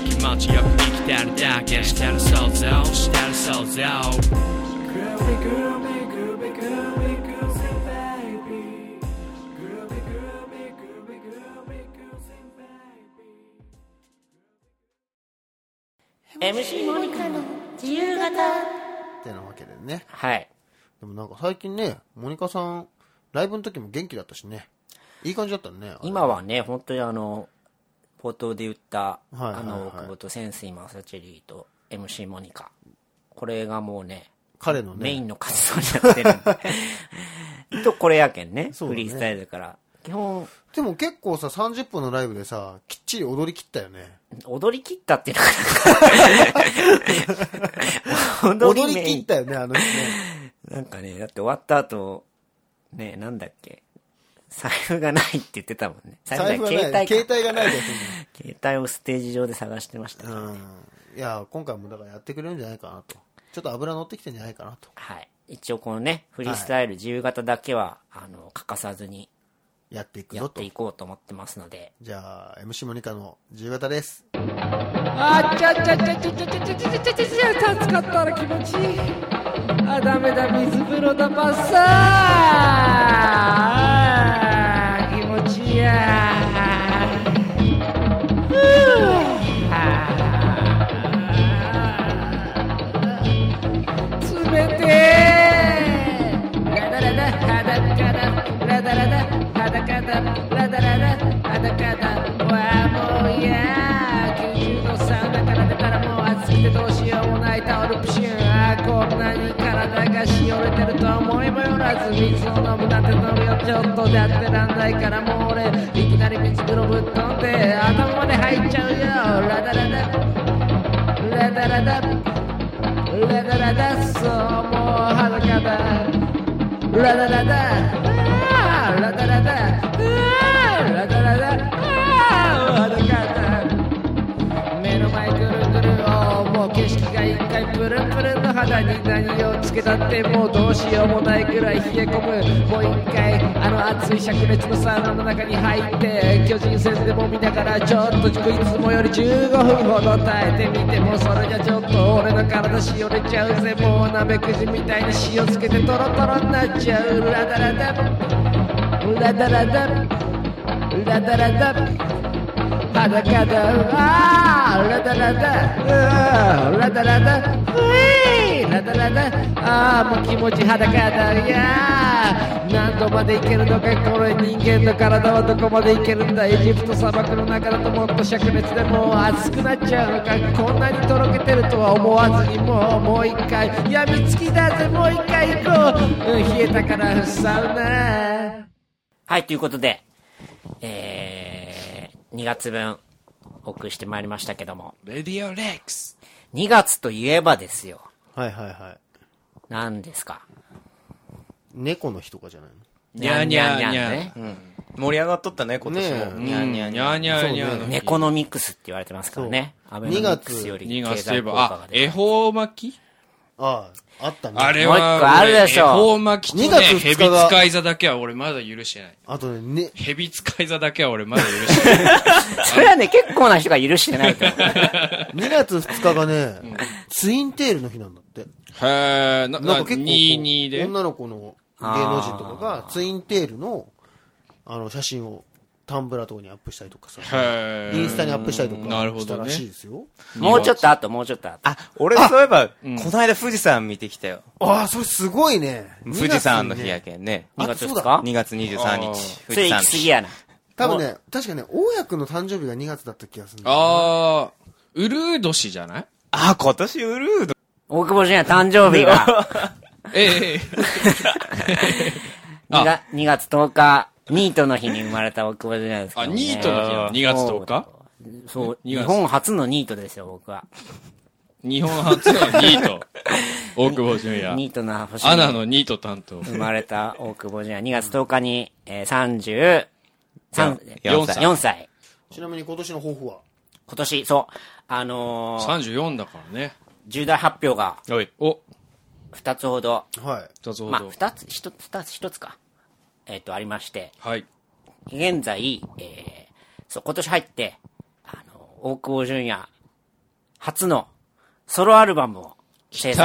[SPEAKER 7] 気持ちよく生きてるだけしてる想像してる想像
[SPEAKER 2] MC モニカの
[SPEAKER 8] 自由形
[SPEAKER 1] ってなわけでね。
[SPEAKER 2] はい
[SPEAKER 1] でもなんか最近ね、モニカさん、ライブの時も元気だったしね。いい感じだったね。あれ
[SPEAKER 2] 今はね本当にあの冒頭で言った、
[SPEAKER 1] はいはいはい
[SPEAKER 2] あの大久保と潜水マサチェリーと MC モニカこれがもうね
[SPEAKER 1] 彼のね。
[SPEAKER 2] メインの活動になって るんでとこれやけんね
[SPEAKER 1] そう
[SPEAKER 2] フ
[SPEAKER 1] だね
[SPEAKER 2] リースタイルだから基本
[SPEAKER 1] でも結構さ、30分のライブでさ、きっちり踊り切ったよね。
[SPEAKER 2] 踊り切ったっていうの が
[SPEAKER 1] 踊
[SPEAKER 2] 踊
[SPEAKER 1] り
[SPEAKER 2] りメイ
[SPEAKER 1] 切っ
[SPEAKER 2] ン
[SPEAKER 1] たよね、あの人 ね。
[SPEAKER 2] なんかねだって終わった後ねなんだっけ財布がないって言ってたもんね
[SPEAKER 1] 財
[SPEAKER 2] じ
[SPEAKER 1] 布
[SPEAKER 2] ゃ
[SPEAKER 1] が
[SPEAKER 2] な
[SPEAKER 1] ないい。携
[SPEAKER 2] か
[SPEAKER 1] 帯がないです
[SPEAKER 2] 携帯をステージ上で探してましたか
[SPEAKER 1] う
[SPEAKER 2] ら
[SPEAKER 1] ん。いや、今回もだからやってくれるんじゃないかなと。ちょっと油乗ってきてんじゃないかなと。
[SPEAKER 2] はい。一応このね、フリースタイル自由形だけは、あの、欠かさずに
[SPEAKER 1] やっていく
[SPEAKER 2] や
[SPEAKER 1] ぞ
[SPEAKER 2] っ
[SPEAKER 1] と
[SPEAKER 2] て。いこうと思ってますので、
[SPEAKER 1] じゃあ、MC モニカの自由形です。
[SPEAKER 5] あちゃちゃちゃちゃちゃちゃちゃちゃちゃちゃちゃ暑かったら気持ちいいあダメだ水風呂だバッサーあー気持ちいいやふうあー冷てえラダラダ裸だラダラダ裸だラダラダ裸だわあもういや90度サウナからだからもう暑くてどうしようもないタオルプシュンあーこんなに体がしおれてるとは思いもよらず水を飲むなんて飲むよちょっとでやってらんないからもう俺いきなり水風呂ぶっ飛んで頭まで入っちゃうよラダラダラダラダラダラダそうもう裸だララララあーララララあーララララあー裸だ目の前ぐるぐるおーもう景色が一回プルンプルンの肌に何をつけたってもうどうしようもないぐらい冷え込むもう一回あの熱い灼熱のサウナの中に入って巨人戦でも見ながらちょっといつもより15分ほど耐えてみてもそれじゃちょっと俺の体しおれちゃうぜもうなめくじみたいに塩つけてトロトロになっちゃうラダラダラダラダラダラダ裸だうわーラダラダうわーラダラダうえーラダラダああもう気持ち裸だいやー何度までいけるのかこれ人間の体はどこまでいけるんだエジプト砂漠の中だともっと灼熱でもう熱くなっちゃうのかこんなにとろけてるとは思わずにもうもう一回やみつきだぜもう一回行こう、うん、冷えたからサウナ
[SPEAKER 2] はい、ということで、えー、2月分、お送りしてまいりましたけども、
[SPEAKER 6] レディオレックス
[SPEAKER 2] 2月といえばですよ。
[SPEAKER 1] はいはいはい。
[SPEAKER 2] 何ですか
[SPEAKER 1] 猫の日とかじゃないの
[SPEAKER 2] にゃんにゃんにゃんね。
[SPEAKER 3] 盛り上がっとったね、今年も。
[SPEAKER 1] ね
[SPEAKER 3] にゃんにゃんに
[SPEAKER 6] に
[SPEAKER 3] ゃん。
[SPEAKER 6] ゃにゃにゃ
[SPEAKER 1] そう
[SPEAKER 6] の
[SPEAKER 2] 猫のミックスって言われてますからね。アベノミックスより
[SPEAKER 6] 2
[SPEAKER 2] 経
[SPEAKER 6] 月と
[SPEAKER 2] 済
[SPEAKER 6] いえ
[SPEAKER 2] 効
[SPEAKER 6] ば
[SPEAKER 2] 果が
[SPEAKER 6] あ
[SPEAKER 2] 出
[SPEAKER 6] 恵
[SPEAKER 2] る。
[SPEAKER 6] 方巻き
[SPEAKER 1] ああ、あったね。
[SPEAKER 6] あれ
[SPEAKER 2] もう一
[SPEAKER 6] は
[SPEAKER 2] 個あるでしょ
[SPEAKER 6] 俺恵方巻き
[SPEAKER 1] 2
[SPEAKER 6] とね
[SPEAKER 1] 月2日
[SPEAKER 6] ヘビ
[SPEAKER 1] が
[SPEAKER 6] 使い座だけは俺まだ許してない
[SPEAKER 1] あとね、ね、
[SPEAKER 6] ヘビ使い座だけは俺まだ許して ない
[SPEAKER 2] それはね、結構な人が許してないと思う。
[SPEAKER 1] 2月2日がね、ツインテールの日なんだって。
[SPEAKER 6] へえな
[SPEAKER 1] なん
[SPEAKER 6] な
[SPEAKER 1] か結構こう
[SPEAKER 6] 22で
[SPEAKER 1] 女の子の芸能人とかがツインテールのあの写真をタンブラーとかにアップしたりとかさ、
[SPEAKER 6] へー
[SPEAKER 1] インスタにアップしたりとか
[SPEAKER 6] なるほ
[SPEAKER 1] した
[SPEAKER 6] ど
[SPEAKER 1] ら
[SPEAKER 6] ね
[SPEAKER 1] しいですよ。
[SPEAKER 2] もうちょっと後、もうちょっと後。
[SPEAKER 3] あ、俺そういえば、この間富士山見てきたよ。
[SPEAKER 1] ああ、それすごいね。
[SPEAKER 3] 富士山の日や
[SPEAKER 1] け。
[SPEAKER 3] けんね。
[SPEAKER 1] あ
[SPEAKER 2] 2月
[SPEAKER 1] そう
[SPEAKER 2] で
[SPEAKER 1] だ
[SPEAKER 2] すか
[SPEAKER 3] 2月23
[SPEAKER 6] あー
[SPEAKER 3] 日。
[SPEAKER 2] それ行
[SPEAKER 3] 山
[SPEAKER 2] き過ぎやな。
[SPEAKER 1] 多分ね、確かね、大家君の誕生日が2月だった気がするんだよね
[SPEAKER 6] ああウルー年じゃない
[SPEAKER 3] あ、今年ウルード。
[SPEAKER 2] 大久保純也誕生日が
[SPEAKER 6] え え
[SPEAKER 2] 2, が2月10日、ニートの日に生まれた大久保純也ですけ
[SPEAKER 6] あ
[SPEAKER 2] ど、ね。
[SPEAKER 6] ニートの日なの2月10日
[SPEAKER 2] そう、
[SPEAKER 6] 2
[SPEAKER 2] 日
[SPEAKER 6] 月
[SPEAKER 2] 本初のニートですよ、僕は。
[SPEAKER 6] 日本初のニー ト大久保純
[SPEAKER 2] ニー
[SPEAKER 6] 也
[SPEAKER 2] トの星
[SPEAKER 6] アナ
[SPEAKER 2] に
[SPEAKER 6] のニート担当
[SPEAKER 2] 生まれた大久保純也、2月10日に、えー、33、
[SPEAKER 3] 四歳
[SPEAKER 2] 4歳。
[SPEAKER 1] ちなみに今年の抱負は
[SPEAKER 2] 今年、そう、あのー
[SPEAKER 6] 34だからね。
[SPEAKER 2] 重大発表が
[SPEAKER 6] はい。お、
[SPEAKER 2] 2つほど、
[SPEAKER 1] はい。
[SPEAKER 6] 二つほど。
[SPEAKER 2] まあ、2つ、1つ、2つ、1つか、えっ、と、ありまして、
[SPEAKER 6] はい。
[SPEAKER 2] 現在、えー、そう、今年入って、あの、大久保純也、初のソロアルバムを制作してお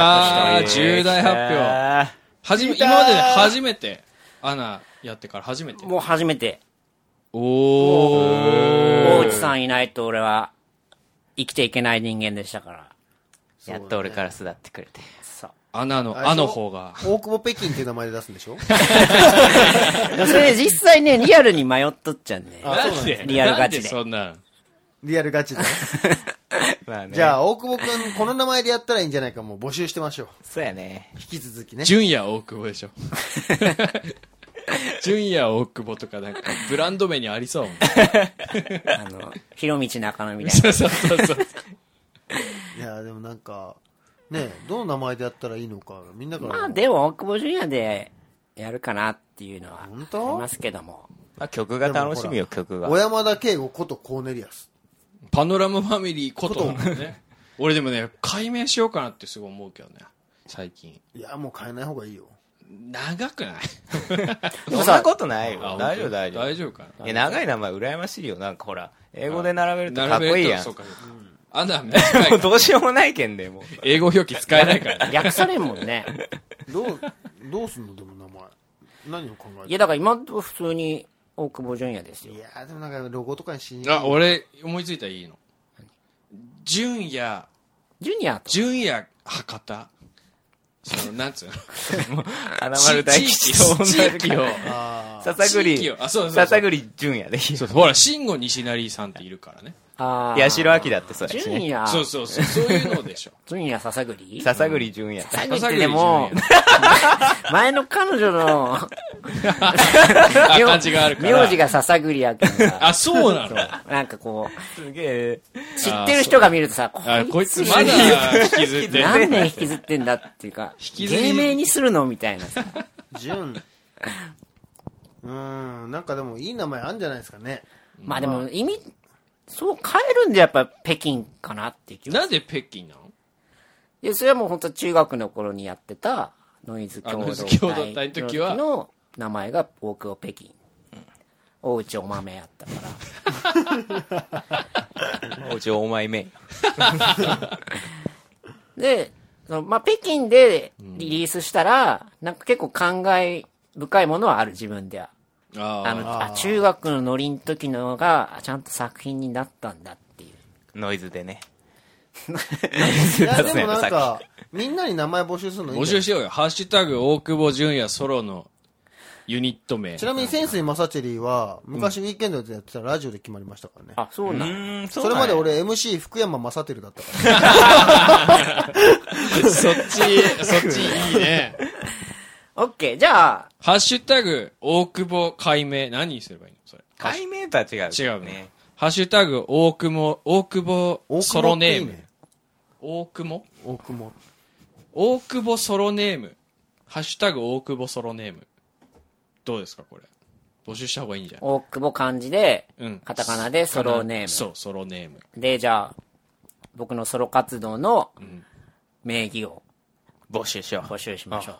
[SPEAKER 2] り
[SPEAKER 6] あー
[SPEAKER 2] ます。
[SPEAKER 6] 重大発表。
[SPEAKER 3] あ
[SPEAKER 6] はじめ、今までで初めて、アナやってから初めて。
[SPEAKER 2] もう初めて、
[SPEAKER 6] お
[SPEAKER 2] 大内さんいないと俺は生きていけない人間でしたから。
[SPEAKER 3] ー やっと俺から巣立ってくれて。
[SPEAKER 2] そう。
[SPEAKER 6] アナの、
[SPEAKER 1] あれでしょ
[SPEAKER 6] アの方が。
[SPEAKER 1] 大久保北京っていう名前で出すんで しょ
[SPEAKER 2] でもそれね、実際ね、リアルに迷っとっちゃうんで。
[SPEAKER 6] なんで
[SPEAKER 2] リアルガチで
[SPEAKER 6] なんそんな。
[SPEAKER 1] リアルガチで。
[SPEAKER 3] まあね。
[SPEAKER 1] じゃあ、大久保くん、この名前でやったらいいんじゃないか、もう募集してましょう。
[SPEAKER 3] そうやね。
[SPEAKER 1] 引き続きね。
[SPEAKER 6] 純也大久保でしょ。 純也大久保とかなんか、ブランド名にあり そうもん。
[SPEAKER 2] あの、ひろみち中野みたい
[SPEAKER 6] そ
[SPEAKER 2] な。
[SPEAKER 6] うそうそうそう。
[SPEAKER 1] いや、でもなんか、ね、どの名前でやったらいいのか、みんなから。
[SPEAKER 2] まあ、でも大久保純也でやるかなっていうのは、あ
[SPEAKER 1] 本当
[SPEAKER 2] りますけども。
[SPEAKER 3] まあ曲が楽しみよ、曲が。
[SPEAKER 1] 小山田圭吾ことコーネリアス。
[SPEAKER 6] パノラムファミリーことだもんね。 俺でもね、解明しようかなってすごい思うけどね。最近。
[SPEAKER 1] いや、もう変えない方がいいよ。
[SPEAKER 6] 長 くない
[SPEAKER 3] そんなことないよ
[SPEAKER 6] あ。
[SPEAKER 3] 大丈
[SPEAKER 6] 本当
[SPEAKER 3] 夫、大丈夫。
[SPEAKER 6] 大丈夫か
[SPEAKER 3] いや、長い名前羨ましいよ。なんかほら、英語で並べると
[SPEAKER 6] な。
[SPEAKER 3] かっこいいやん。
[SPEAKER 6] そうかそうかアナ短いか
[SPEAKER 3] もう
[SPEAKER 6] ら。
[SPEAKER 3] どうしようもないけんで、もう。
[SPEAKER 6] 英語表記使えないか らね。
[SPEAKER 2] 略されんもんね。
[SPEAKER 1] ど う、どうすんのでも名前。何を考えてる
[SPEAKER 2] いや、だから今のとこ普通に大久保純也ですよ
[SPEAKER 1] い。や、でもなんかロゴとかにしに
[SPEAKER 6] あ、俺、思いついたらいいの。純也、
[SPEAKER 2] ジュニアと。
[SPEAKER 6] 純也博多。その、なんつうの
[SPEAKER 3] 花丸大吉と同じ
[SPEAKER 6] 地域を。
[SPEAKER 1] あ
[SPEAKER 3] 笹栗
[SPEAKER 6] 地域をあそうそうそう
[SPEAKER 3] 笹栗純也でいい
[SPEAKER 6] そうそうほら、慎吾西成さんっているからね。
[SPEAKER 2] あー
[SPEAKER 3] 八代明だってそうや
[SPEAKER 2] ジ
[SPEAKER 3] し
[SPEAKER 2] ュ
[SPEAKER 3] ね
[SPEAKER 2] ニア、
[SPEAKER 6] そうそうそう、そういうの でしょ。
[SPEAKER 2] ジュニア笹栗
[SPEAKER 3] 笹栗純也
[SPEAKER 2] 笹栗ってでも
[SPEAKER 6] 笹栗、
[SPEAKER 2] 前の彼女の
[SPEAKER 6] あ、
[SPEAKER 2] 名
[SPEAKER 6] 感じがあるから。
[SPEAKER 2] 名字が笹栗やけんさ
[SPEAKER 6] あ、そうなの
[SPEAKER 2] なんかこ
[SPEAKER 3] すげえ
[SPEAKER 2] う、知ってる人が見るとさ、
[SPEAKER 6] あ、こ
[SPEAKER 2] こ
[SPEAKER 6] い
[SPEAKER 2] い
[SPEAKER 6] つ
[SPEAKER 2] つ
[SPEAKER 6] まだ引きずってる。
[SPEAKER 2] 何年引きずってんだっていうか、
[SPEAKER 6] きずり
[SPEAKER 2] 芸名にするのみたいなさ。
[SPEAKER 1] あ、純。うーん、なんかでもいい名前あんじゃないですか ね。
[SPEAKER 2] まあでも意味、そう変えるんでやっぱ北京かなっていう気が
[SPEAKER 6] なんで北京なの
[SPEAKER 2] いや、それはもう本当中学の頃にやってたノイズ
[SPEAKER 6] あ
[SPEAKER 2] 共
[SPEAKER 6] ノイ
[SPEAKER 2] 同
[SPEAKER 6] ズ
[SPEAKER 2] 体
[SPEAKER 6] 共同体の時は
[SPEAKER 2] の名前が大久保北京。大内お豆やったから。
[SPEAKER 3] おじお前め
[SPEAKER 2] で、そのまあ、北京でリリースしたら、なんか結構感慨深いものはある、自分では。あ
[SPEAKER 6] あ
[SPEAKER 2] の、あ中学のノリの時のが、ちゃんと作品になったんだっていう。
[SPEAKER 3] ノイズ でね
[SPEAKER 1] いや、で
[SPEAKER 3] そう
[SPEAKER 1] も
[SPEAKER 3] や
[SPEAKER 1] な
[SPEAKER 3] っ
[SPEAKER 1] ん
[SPEAKER 3] た
[SPEAKER 1] か、みんなに名前募集する
[SPEAKER 6] あ。
[SPEAKER 1] のいいん
[SPEAKER 6] 募
[SPEAKER 1] じゃな
[SPEAKER 6] 集
[SPEAKER 1] い
[SPEAKER 6] しようよ。ハッシュタグ、大久保純也ソロのユニット名。
[SPEAKER 1] ちなみに、潜水マサチェリーは、昔ウィーケンドでやってたラジオで決まりましたからね。
[SPEAKER 2] あ、そうなん。
[SPEAKER 3] ん
[SPEAKER 1] それまで俺 MC 福山雅てるだった から。
[SPEAKER 6] そっち、そっちいいね。
[SPEAKER 2] オッケー、じゃあ、
[SPEAKER 6] ハッシュタグ、大久保解明。何にすればいいのそれ。
[SPEAKER 3] 解明とは違う
[SPEAKER 6] 違うね
[SPEAKER 3] ね。
[SPEAKER 6] ハッシュタグ、大久保、大久
[SPEAKER 1] 大久保っていいね
[SPEAKER 6] 保ソロネーム。大久保
[SPEAKER 1] 大久保。
[SPEAKER 6] 大久保ソロネーム。ハッシュタグ、大久保ソロネーム。どうですか、これ。募集した方がいいんじゃない
[SPEAKER 2] 大久保漢字で、
[SPEAKER 6] うん
[SPEAKER 2] カタカナでソロネー
[SPEAKER 6] そう、ソロネーム。
[SPEAKER 2] ム。で、じゃあ、僕のソロ活動の名義を
[SPEAKER 3] 募集しよ
[SPEAKER 2] 募集しましょ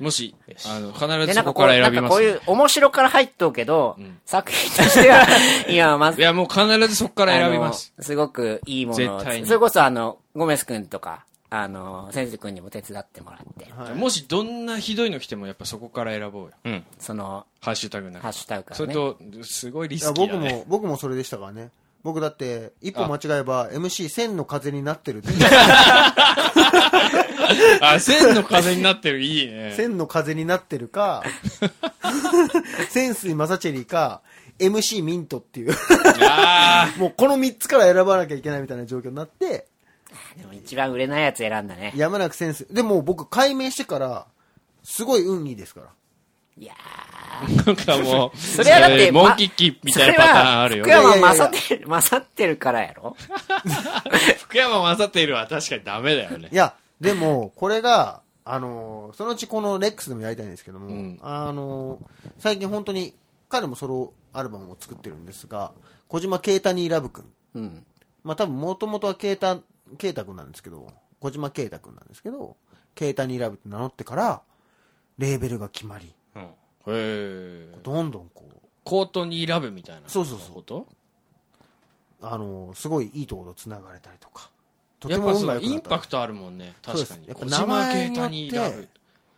[SPEAKER 2] う。
[SPEAKER 6] もし、あの、必
[SPEAKER 2] で、
[SPEAKER 6] ず
[SPEAKER 2] な
[SPEAKER 6] そ
[SPEAKER 2] んか
[SPEAKER 6] こ
[SPEAKER 2] こう、
[SPEAKER 6] から
[SPEAKER 2] な
[SPEAKER 6] 選
[SPEAKER 2] ん
[SPEAKER 6] び
[SPEAKER 2] か
[SPEAKER 6] ま
[SPEAKER 2] こ
[SPEAKER 6] す
[SPEAKER 2] う
[SPEAKER 6] ね、
[SPEAKER 2] いう面白から入っとうけど、作品として は、今まず
[SPEAKER 6] いや、もう必ずそこから選びます。
[SPEAKER 2] あの。すごくいいものを
[SPEAKER 6] 絶対に
[SPEAKER 2] それこそあの、ゴメス君とか、あの、センス君にも手伝ってもらって、
[SPEAKER 1] あの
[SPEAKER 6] もし、どんなひどいの来ても、やっぱそこから選ぼうよ。
[SPEAKER 3] ううん
[SPEAKER 2] その、
[SPEAKER 6] ハッシュタグなん
[SPEAKER 2] ハッ
[SPEAKER 6] か。
[SPEAKER 2] シュタグから
[SPEAKER 6] それ
[SPEAKER 2] ね。
[SPEAKER 6] と、すごいリ
[SPEAKER 1] いや
[SPEAKER 6] スキー
[SPEAKER 1] 僕
[SPEAKER 6] だね。
[SPEAKER 1] も、僕もそれでしたからね。僕だって、一歩間違えば MC1000 の風になってるって。
[SPEAKER 6] あ、千の風になってる、いいね。
[SPEAKER 1] 1000の風になってるか、 潜水マサチェリーか、MC ミントっていう。
[SPEAKER 6] あ
[SPEAKER 1] もうこの3つから選ばなきゃいけないみたいな状況になって、
[SPEAKER 2] でも一番売れないやつ選んだね。
[SPEAKER 1] やむなく潜水。でも僕解明してから、すごい運いいですから。
[SPEAKER 2] いや
[SPEAKER 6] あ、なんかもう、
[SPEAKER 2] それはだって、
[SPEAKER 6] モ
[SPEAKER 2] ま
[SPEAKER 6] ンキッキーみたいなパターンあるよ
[SPEAKER 2] それ。は福
[SPEAKER 1] いや
[SPEAKER 2] 山
[SPEAKER 1] いやいや
[SPEAKER 2] 勝ってる、勝ってるからやろ
[SPEAKER 6] 福山雅てるは確かにダメだよね
[SPEAKER 1] い。や、でも、これが、あのーそのうちこのレックスでもやりたいんですけども、
[SPEAKER 6] ん
[SPEAKER 1] あのー最近本当に、彼もソロアルバムを作ってるんですが、小島慶太にラブ君
[SPEAKER 2] うん。
[SPEAKER 1] まあ多分もともとは慶太、慶太くんなんですけど、小島慶太くんなんですけど、慶太にラブって名乗ってから、レーベルが決まり、
[SPEAKER 3] うん。
[SPEAKER 6] へえ
[SPEAKER 1] どんどんこう、
[SPEAKER 6] コートに選ぶみたいな
[SPEAKER 1] そうそうそう
[SPEAKER 6] こと
[SPEAKER 1] あの、すごいいいところと繋がれたりとか、とて
[SPEAKER 6] やっ
[SPEAKER 1] も
[SPEAKER 6] ぱ
[SPEAKER 1] 運
[SPEAKER 6] そ
[SPEAKER 1] が
[SPEAKER 6] の
[SPEAKER 1] 良く
[SPEAKER 6] イ
[SPEAKER 1] な
[SPEAKER 6] ン
[SPEAKER 1] った
[SPEAKER 6] パクトあるもんね
[SPEAKER 1] そうで
[SPEAKER 6] 確
[SPEAKER 1] す
[SPEAKER 6] かに
[SPEAKER 1] やっぱ
[SPEAKER 6] 小島慶太に
[SPEAKER 1] 名前によ
[SPEAKER 6] ラ
[SPEAKER 1] っ
[SPEAKER 6] ブ
[SPEAKER 1] て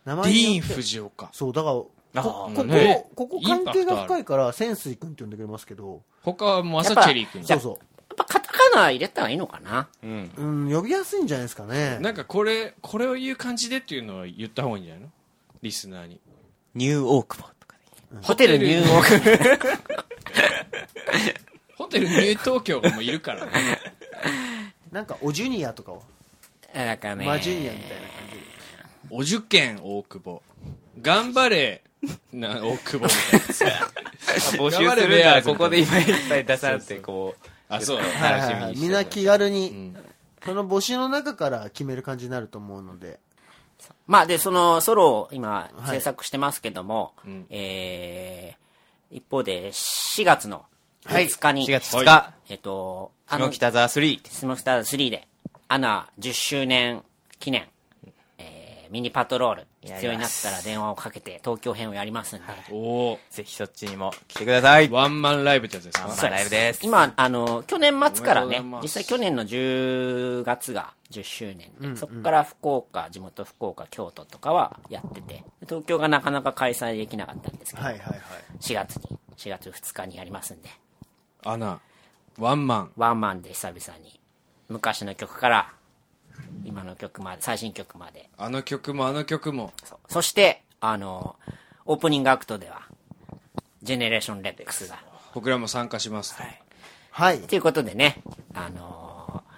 [SPEAKER 1] 名
[SPEAKER 6] デ
[SPEAKER 1] 前によっ
[SPEAKER 6] ィーン・
[SPEAKER 1] て
[SPEAKER 6] フジオか
[SPEAKER 1] そう、だから、こここ、
[SPEAKER 6] ね
[SPEAKER 1] ここ
[SPEAKER 6] イ
[SPEAKER 1] 関
[SPEAKER 6] ンパクト
[SPEAKER 1] 係
[SPEAKER 6] ある
[SPEAKER 1] が深いから、潜水君って呼んでくれますけど、
[SPEAKER 6] 他はもう朝チェリー君
[SPEAKER 1] そうそ
[SPEAKER 2] っぱカタカナ入れたらいいのかな
[SPEAKER 3] うん。
[SPEAKER 1] う、うん、呼びやすいんじゃないですかね。
[SPEAKER 6] なんかこれこれを言う感じでっていうのは言った方がいいんじゃないのリスナーに
[SPEAKER 3] ニューオークマンとかね。
[SPEAKER 2] ホテルニュー オーク。
[SPEAKER 6] ホテルニュー東京もいるからね
[SPEAKER 1] なんか、おジュニアとかを、
[SPEAKER 2] だからね。
[SPEAKER 1] マジュニアみたいな感じで。
[SPEAKER 6] お受験大久保頑張れな大久保みたいな
[SPEAKER 3] 募
[SPEAKER 6] 頑張
[SPEAKER 3] 集す
[SPEAKER 6] れ
[SPEAKER 3] るから、
[SPEAKER 6] ベアーズ
[SPEAKER 3] ここで今いっぱい出されて、こう。
[SPEAKER 6] あそう
[SPEAKER 1] はいは
[SPEAKER 3] 楽し
[SPEAKER 1] い
[SPEAKER 3] み
[SPEAKER 1] はい
[SPEAKER 3] にして
[SPEAKER 1] みん
[SPEAKER 3] る
[SPEAKER 1] な気軽に、
[SPEAKER 6] ん
[SPEAKER 1] その募集の中から決める感じになると思うので、
[SPEAKER 2] まあで、そのソロを今制作してますけども、
[SPEAKER 6] ん
[SPEAKER 2] えー、一方で4月の2日に、
[SPEAKER 3] 4月2
[SPEAKER 6] は
[SPEAKER 3] 日、
[SPEAKER 2] えっと、あ
[SPEAKER 3] 下
[SPEAKER 2] の、
[SPEAKER 3] 北沢3。
[SPEAKER 2] スモスターズ3で、アナ10周年記念、えーミニパトロール、必要になったら電話をかけて東京編をやりますんで、
[SPEAKER 6] おー
[SPEAKER 3] ぜひそっちにも来てください。
[SPEAKER 6] ワンマンライブってやつです
[SPEAKER 3] ワン
[SPEAKER 6] か
[SPEAKER 3] マンライブです。
[SPEAKER 2] 今、あの、去年末から
[SPEAKER 6] おめで
[SPEAKER 2] ね
[SPEAKER 6] とうございま、す
[SPEAKER 2] 実際去年の10月が10周年で、そこから福岡、地元福岡、京都とかはやってて、東京がなかなか開催できなかったんですけど、
[SPEAKER 1] はいはいはい。
[SPEAKER 2] 4月に、4月2日にやりますんで、
[SPEAKER 6] アナワンマン
[SPEAKER 2] ワンマンで久々に、昔の曲から、今の曲まで、最新曲まで、
[SPEAKER 6] あの曲もあの曲も
[SPEAKER 2] そうそして、あの、オープニングアクトでは、ジェネレーションレックスが、
[SPEAKER 6] 僕らも参加します
[SPEAKER 1] はい。
[SPEAKER 2] ということでね、あのー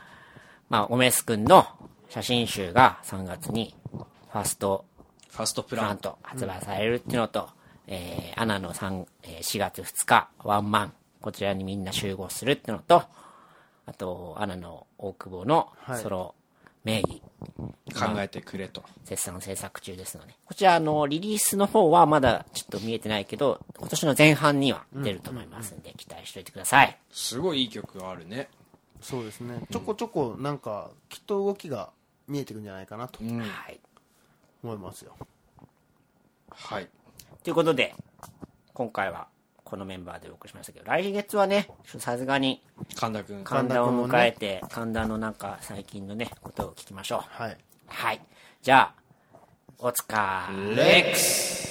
[SPEAKER 2] まあ、おめすくんの写真集が3月にファースト
[SPEAKER 6] ファーストプ
[SPEAKER 2] プ
[SPEAKER 6] ラ
[SPEAKER 2] ラ
[SPEAKER 6] ン
[SPEAKER 2] ント発売されるっていうのと、えー、アナの3、えー4月2日ワンマン、こちらにみんな集合するっていうのと、あと、アナの大久保の
[SPEAKER 1] はい
[SPEAKER 2] ソロ名義、
[SPEAKER 6] 考えてくれと
[SPEAKER 2] 絶賛制作中ですので、こちら、あの、リリースの方はまだちょっと見えてないけど、今年の前半には出ると思いますんで、期待しておいてください。
[SPEAKER 6] すごいいい曲があるね
[SPEAKER 1] そうですね。ちょこちょこ、なんか、きっと動きが見えてるんじゃないかなと
[SPEAKER 2] はい。
[SPEAKER 1] 思いますよ。
[SPEAKER 6] はい
[SPEAKER 2] ということで、今回はこのメンバーでお送りしましたけど、来月はね、ちょっとさすがに
[SPEAKER 6] 神田君
[SPEAKER 1] 神
[SPEAKER 2] 神田
[SPEAKER 1] 田君
[SPEAKER 2] を
[SPEAKER 1] もね
[SPEAKER 2] 迎えて、神田のなんか最近のね、ことを聞きましょう。
[SPEAKER 1] はい。
[SPEAKER 2] はい。じゃあ、おつかー
[SPEAKER 6] レックス